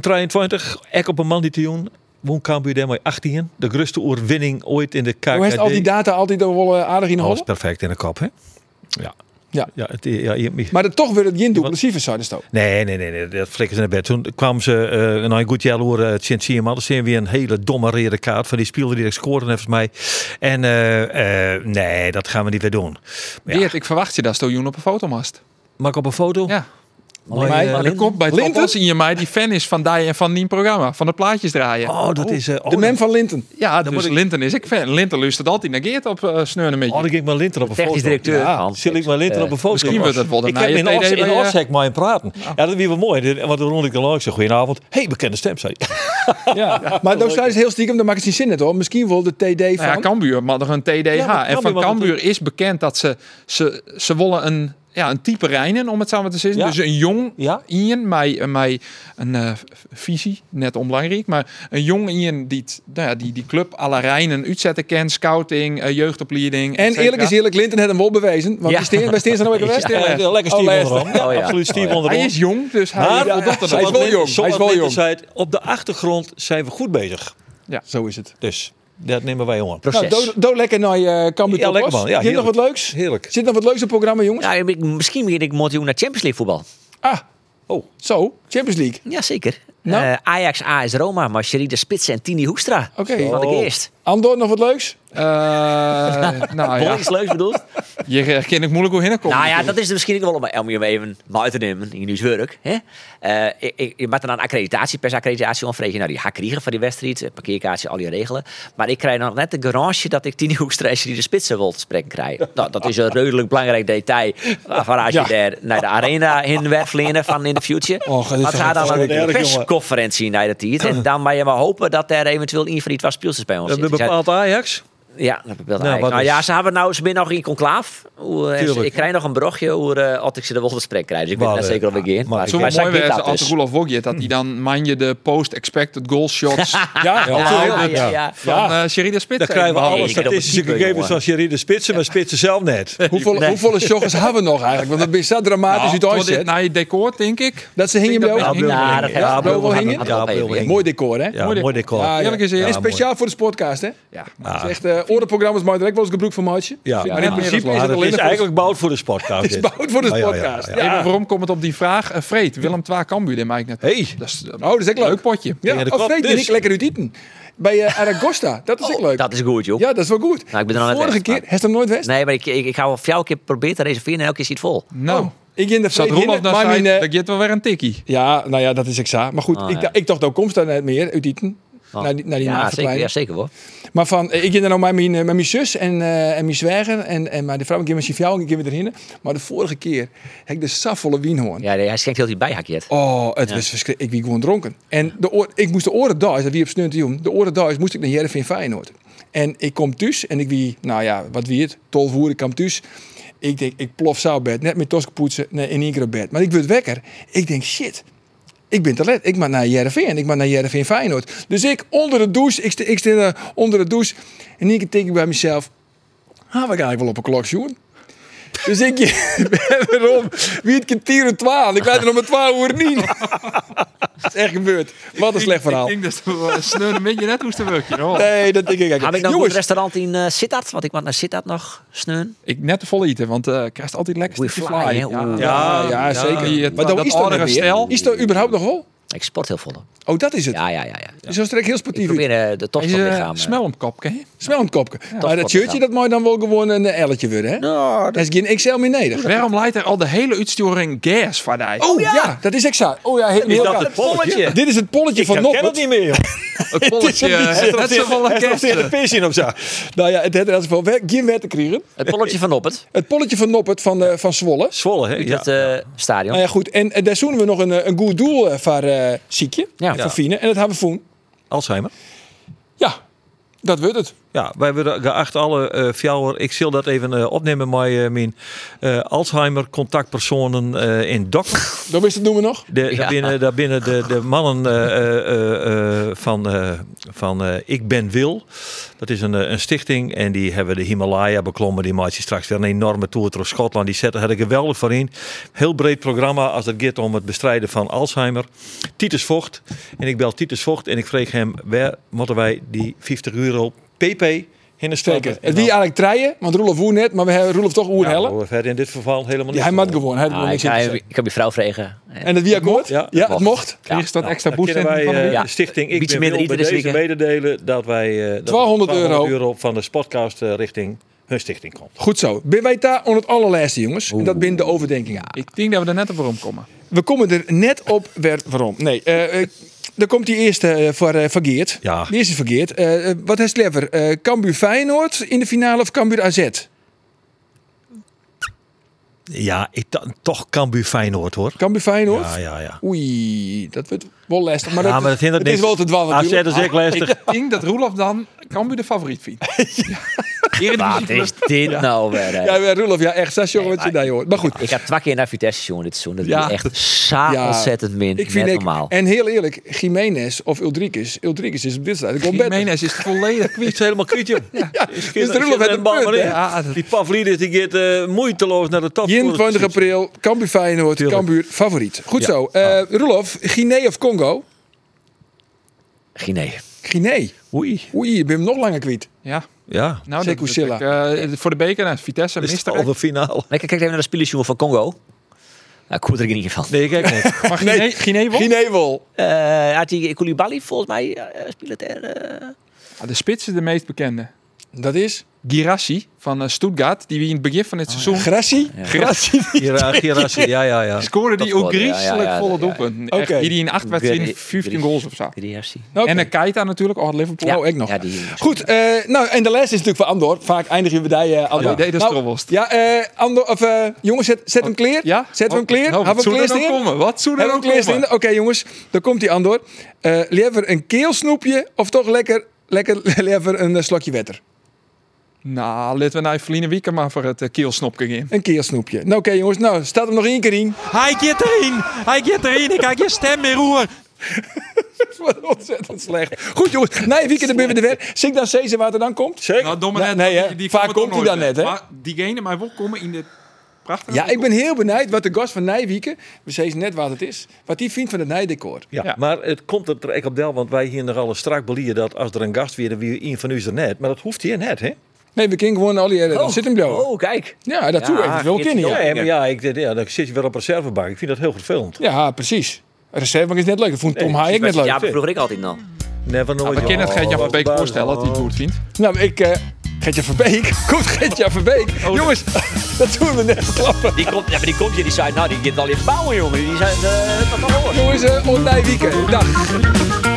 2023. Ek op een man die te jong. Woon Cambuur daarmee 18. De grootste oorwinning ooit in de KKD.
Hoe heeft al die data altijd al wel eh, aardig in de
Alles
holle?
perfect in de kop, hè? Ja.
Ja.
ja, het, ja je-
Maar dat toch weer het Jin duplessieve zijn stoot.
Nee, nee, nee, nee, dat flikken ze naar bed. Toen kwamen ze eh na een goed jaar hoor, eh, Sint Sierman. Dat zijn weer een hele domme rode kaart van die speelde die ik scoorde, volgens mij. En eh, eh, nee, dat gaan we niet weer doen. Maar ja,
Beert, Oh, ik verwacht je daar Stojoen op een fotomast.
Maak op een foto?
Ja.
Alleen,
maar
eh,
maar er
Linden?
komt bij het
Linden?
Linten? in je mij die fan is van die en van die programma, van de plaatjes draaien.
Oh, dat is, eh, oh,
de man
dat-
van Linten. Ja, dus
moet ik-
Linten is ik fan. Linten luistert altijd naar Geert op eh sneunen met je.
Oh, dan ik maar Linter op een
Technisch
foto.
directeur
Ja,
van-
zul ik maar Linter
Eh,
op een foto.
misschien wordt dat wel de
Ik heb
nieuwe
in
TD
Os- in
bij, eh,
Oshek maar in praten. Ja, dat is wel mooi. Dit- Want dan rond ik al ik zeg, goedenavond. Hé, hey, bekende stem, zei hij.
Ja. Maar dat is heel stiekem, dan maakt het geen zin net hoor. Misschien wel de TD van.
Nou ja, Cambuur mag nog een TDH.
Ja, maar
en
Cambuur
van
mag
Cambuur is bekend dat ze, ze, ze willen een, ja, een type Rijnen, om het samen te zeggen.
Ja.
Dus een jong
ja.
Ian, mij, mij een eh, visie, net onbelangrijk, maar een jong Ian die, het- nou ja, die, die club à la Rijnen uitzetten kent, scouting, eh, jeugdopleiding.
en eerlijk is eerlijk, Linton had hem wel bewezen. Want
Ja.
bij Steen- bij Steen zijn er ook
Ja,
geweest.
ja, lekker Steve
Oh,
onderhand.
Leicester.
Ja, absoluut Steve onderhand. Hij is jong, dus hij-
Maar-
ja, voldoet er
hij
nog.
is wel jong.
Hij is wel jong.
Op de achtergrond zijn we goed bezig.
Ja,
zo is het.
Dus, dat nemen wij jongen.
Nou, doe- doe lekker naar eh Cambuur
Ja,
Topos.
lekker man. Ja,
Zit nog
heerlijk.
wat leuks?
Heerlijk.
Zit nog wat leuks op het programma, jongens?
Ja, ik- misschien begin ik Montioen naar Champions League voetbal.
Ah, oh. zo, Champions League.
Jazeker.
Nou.
Eh, Ajax, AS Roma, maar Sherida Spitsen en Tini Hoekstra.
Oké.
Wat ik
Oh.
eerst.
Andor, nog wat leuks?
Eh, nou ja.
Iets leuks bedoeld?
Je herkent ik moeilijk hoe komen.
Nou ja,
natuurlijk.
dat is er misschien ook wel om, om je hem even buiten te nemen in uw werk. Hè? Eh, ik- ik- je maakt dan een accreditatie, persaccreditatie om. vrees je, nou die ga ik krijgen van die wedstrijd, eh, parkeerkaartje, al die regelen. Maar ik krijg nog net de garage dat ik Tini Hoekstra en Sherida Spitsen wil te spreken krijgen. Nou, dat is een redelijk belangrijk detail. Waarvan als je
Ja.
daar naar de arena in werflenen van in de future.
Och, dit is
Wat
toch
gaat dan
verschrikkelijk,
een
jongen.
persconferentie naar dat hier? En dan mag je maar hopen dat er eventueel een van die twee speelsters bij ons
Dat
zit. Ik zei,
bepaalt Ajax.
ja, dat bepaalt
Nou,
nou,
wat
Nou
is-
ja, ze hebben nou, ze zijn nog in conclaaf. Hoe, eh,
Tuurlijk.
ik krijg nog een brochje hoe eh als ik ze de volgende gesprek krijg. Dus ik
Maar,
weet net
eh,
zeker of ik in. Maar,
Zo
maar dus.
mooi
zijn
werd
dit
als Roelof Wogjet dat hij dan man je de post expected goal shots
Ja,
Ah,
allowed
ja, ja, ja.
van eh Sherida Spitsen.
Dan krijgen we
Behalve-
alle statistische gegevens van Sherida Spitsen, maar Spitsen zelf net.
Hoeveel, Hoeveel joggers hebben we nog eigenlijk? Want dat is zo dramatisch
Nou,
uit
tot
Oisjet.
dit naar je decor, denk ik.
Dat ze hingen
Ik
bij
denk
jou?
dat we hingen.
Ja,
Ja,
dat
dat
hebben we-
hebben we
wel
wel
hingen.
gehad. Dat hebben we wel hingen.
Mooi decor, hè?
Ja, mooi decor.
Ja, ja.
Eerlijk is
En
eerlijk.
speciaal voor de sportcast, hè? Ja. Het is echt, eh orenprogramma's maken direct wel eens gebruik van maatje.
Ja,
maar in principe is het alleen
is
nog voor-
eigenlijk bouwd voor de sportcast.
Het is bouwd voor de sportcast. Ja.
Even waarom komt het op die vraag? Eh, Freed, Willem Twa Cambuur, die maakt net.
Hey.
Dat is, eh,
Oh, dat is echt leuk.
leuk potje.
Ja,
Tegen de
of
klap,
weet je,
dus.
ik lekker uit eten. Bij eh, Aragosta, dat is ook leuk.
Oh, Dat is goed, joh.
Ja, dat is wel goed.
Nou, ik ben er al net
Vorige
weg,
keer,
maar-
heeft hem nooit west?
Nee, maar ik, ik, ik ga wel voor jou een keer proberen te reserveren en elke keer ziet het vol.
Nou,
Ik in de
zat
Freek
Roelof
in,
daar
maar
zei,
mijn, eh,
dat geeft wel weer een tikkie.
Ja, nou ja, dat is exact. Maar goed,
Ah,
ik,
ja.
ik dacht ook, komst daar net meer uit eten.
Oh.
Naar die, naar die
ja, zeker,
maagverkleining.
ja, zeker hoor.
Maar van, eh, ik ging dan nou met mijn, eh, met mijn zus en, eh, en mijn zwager en, en maar de vrouw, ik ging met zijn vrouw en ik ging weer erin. Maar de vorige keer heb ik de safvolle wienhoorn.
Ja, nee, hij schenkt heel die bijhakje.
Oh, het was verschrikkelijk. Ik was gewoon dronken. En de oor, ik moest de oren thuis, dat wie op snunt de oren thuis moest ik naar Jervin Feyenoord. En ik kom thuis en ik wie, nou ja, wat wie het, 12 uur, ik kwam thuis. Ik denk, ik plof zou bed, net met tosken poetsen, nee, in één keer op bed. Maar ik word wekker. Ik denk, shit, ik ben te let. Ik mag naar Jereveen. Ik mag naar Jereveen Feyenoord. Dus ik onder de douche. Ik sta ik sta, eh, onder de douche. En ik denk ik bij mezelf. Ah, we gaan eigenlijk wel op een klok zoen. Dus ik waarom? Wie het kan tieren twaalf. Ik weet er nog maar twaalf uur niet. Dat is echt gebeurd. Wat een slecht verhaal.
Ik denk dat we sneuren een beetje net hoe te werken. hoor.
Nee, dat denk ik eigenlijk.
Heb ik nog een
Jongens,
goed restaurant in eh Sittard? Want ik mag naar Sittard nog sneun.
Ik net te vol eten, want eh krijgt altijd lekker
Goeie
stukje
fly,
fly.
hè? Oeh.
ja, ja, zeker.
Die, eh,
maar
dat
dan is dat
oudere
stel.
stijl.
Is dat überhaupt nog wel?
Ik sport heel vol.
Oh, dat is het.
Ja, ja, ja. ja.
Dus dat is direct heel sportief.
Ik probeer eh, de
Hij is
topsport
eh,
lichaam.
smel om kop, ken je?
Smel een kopje. maar dat
sportlichaam.
shirtje, dat mooi dan wel gewoon een eh, elletje worden, hè? Nou, dat... is geen XL meer neder.
Waarom leidt er al de hele uitsturing gas van die?
Oh ja. dat is exact. Oh ja, heel,
Is
heel
dat
raar.
het polletje?
Dit is het polletje
Ik
van
herken
Noppert.
het niet
meer,
Het polletje, eh, dat is wel een kerst.
pis in op zo.
Nou ja, het had er als wel wer- geen wet te krijgen.
Het polletje van Noppert.
Het polletje van Noppert van, eh, van Zwolle.
Zwolle, hè?
Uit het eh, stadion.
Nou ja, goed. En eh, daar zoenen we nog een, eh, een goed doel eh, voor eh Siekje.
Ja.
Voor Fine. En dat hebben we voen.
Alzheimer.
Ja, dat wordt het.
Ja, wij willen geacht alle eh fjouwer. Ik zal dat even eh, opnemen met eh, mijn eh, Alzheimer contactpersonen eh, in Dok.
Dat is het doen we nog.
De, daarbinnen, daarbinnen de, de mannen eh, eh, eh, van, eh, van eh, Ik Ben Wil. Dat is een, eh, een stichting en die hebben de Himalaya beklommen. Die maakt je straks weer een enorme tour door Schotland. Die zetten er geweldig voor in. Heel breed programma als het gaat om het bestrijden van Alzheimer. Titus Vocht. En ik bel Titus Vocht en ik vroeg hem... waar moeten wij die 50 euro pp... Hinderstrappen,
Zeker.
en
Het wie
dan-
eigenlijk treien, want Roelof woer net, maar we hebben Roelof toch oer hellen.
Nou, verder in dit geval helemaal niet.
hij maakt gewoon. Hij heeft gewoon
Ah, ik,
niks in te
ik,
zeggen.
ik heb je vrouw vregen.
En dat wie akkoord? Ja, ja, het mocht.
Ja.
Is dat
Nou,
extra
dan
boost
kunnen
in
wij,
van de
eh,
week?
Ja.
Stichting Ik
Beetje
ben
minder
wil bij
eten
deze
dit weekend.
mededelen dat wij eh, dat
1200 euro.
euro van de podcast eh, richting hun stichting komt.
Goed zo. Ben wij daar aan het allerlaatste, jongens? En dat binnen de overdenkingen.
Ik denk dat we er net op omkomen.
We komen er net op weer, waarom. Nee, eh eh, dan komt die eerste eh, voor, eh, voor Geert.
Ja.
Die eerste voor Geert. Eh, eh, wat is clever? Eh Cambuur Feyenoord in de finale of Cambuur AZ?
Ja, ik, to- toch Cambuur Feyenoord hoor.
Cambuur Feyenoord?
Ja, ja, ja.
Oei, dat wordt wel lastig. Maar
Ja,
dat,
maar dat hindert
het is
niks. Ah,
wel te dwalen Ah,
AZ
natuurlijk.
is echt lastig.
Ik denk dat Roelof dan Cambuur de favoriet vindt.
Ah,
Wat is dit nou weer? hè?
Ja, ja, Roelof, ja, echt. Zes jongen wat je daar hoort. Maar goed.
Ik heb twee keer naar Vitesse jongen dit seizoen. Dat
Ja.
ja. echt saai
Ja.
ontzettend min.
Ik vind
net
ik,
normaal.
En heel eerlijk, Jiménez of Ulrikes. Ulrikes is op dit stadium.
Jiménez is volledig
kwijt.
is helemaal kwijt, joh.
Dus de Roelof heeft een punt, hè?
Die Pavlidis die gaat eh, moeiteloos naar de top.
21 april, Cambuur Feyenoord, Cambuur favoriet. Goed
Ja.
zo. Eh Roelof, Guinea of Congo?
Guinea.
Guinea.
Oei.
Oei, je bent hem nog langer kwijt.
Ja.
Ja.
Nou,
Sekou
dat is natuurlijk, eh, voor de beker naar Vitesse. mist er echt.
finale.
Lekker, kijk even naar de spelersjongen van Congo. Nou, ik hoor er in ieder geval.
Nee, kijk niet.
Maar Guinea- Guinea won?
Ginewol.
Eh had hij Koulibaly volgens mij eh spelen ter... eh,
Ja, Ah, de spits is de meest bekende.
Dat is?
Girassi van eh, Stuttgart, die we in het begin van het seizoen...
Grassi?
Girassi.
Hira- Girassi, ja, ja, ja.
Scoorde die ook
Topscorer, ja, ja,
griezelig
ja,
volle
ja, ja.
doelpunten.
Oké.
Echt, Die die in acht wedstrijden
Gri-
15
Gri-
goals of zo.
Oké.
En een Keita natuurlijk, oh, Liverpool.
Ja.
Oh,
Oh, ik nog.
Ja, die...
Goed, eh, nou, en de les is natuurlijk voor Andor. Vaak eindigen we bij eh, Andor.
Ja, nee, dat is
Nou,
trobbelst.
Ja, eh, Andor, of, eh, jongens, zet, zet hem clear. Ja? Zet hem
Oh,
clear.
nou, wat
Hebben we
zou er
hem
nou
clear
komen? Wat zou er
Hebben we
nou
hem clear
komen?
Oké, jongens, dan komt die Andor. Eh liever een keelsnoepje of toch lekker, lekker liever een eh, slokje wetter?
Nou, laten we naar Eveline Wieker maar voor
eh,
het uh, keelsnopje in.
Een keelsnoepje. Nou, oké, jongens, nou, staat hem nog één keer in.
Hij gaat erin. Hij gaat erin. Ik heb je stem meer roer.
Wat ontzettend slecht. Goed, jongens. Nee, weekend dan ben we er weer. Zing dan Cezar waar het dan komt.
Zeker.
Nou, domme net,
nee, hè. Vaak
komen
komt hij
toch
dan net,
nooit,
hè?
Maar diegene maar wel komen in de prachtige...
Ja, ik ben heel benieuwd wat de gast van Nijwieken, we zeggen net wat het is, wat die vindt van het Nijdecor.
Ja. Maar het komt er echt op del, want wij hier nogal eens strak belieren dat als er een gast weer, dan wie een van u is er net. Maar dat hoeft hier net, hè?
Nee, we kunnen gewoon al die dan
Oh.
zit hem daar.
Oh, kijk.
Ja, dat doe ik. Dat wil ik in,
Ja,
ja.
maar ja, ik, ja, dan zit je weer op reservebank. Ik vind dat heel vervelend.
Ja, precies. Reserve is net leuk. Dat vond Tom Haai ik net leuk.
Ja, dat vroeg ik altijd nog.
Never nooit.
Maar Kenneth gaat je
Oh,
van Beek voorstellen dat hij het goed vindt.
Nou, ik... eh Gertje Verbeek. Komt Gertje Verbeek. Jongens, dat doen we net klappen.
Die komt, ja, maar die komt hier, die zei, nou, die gaat al in bouwen, jongen. Die zei, eh, dat kan wel hoor.
Jongens, uh, Nijwieken. Dag.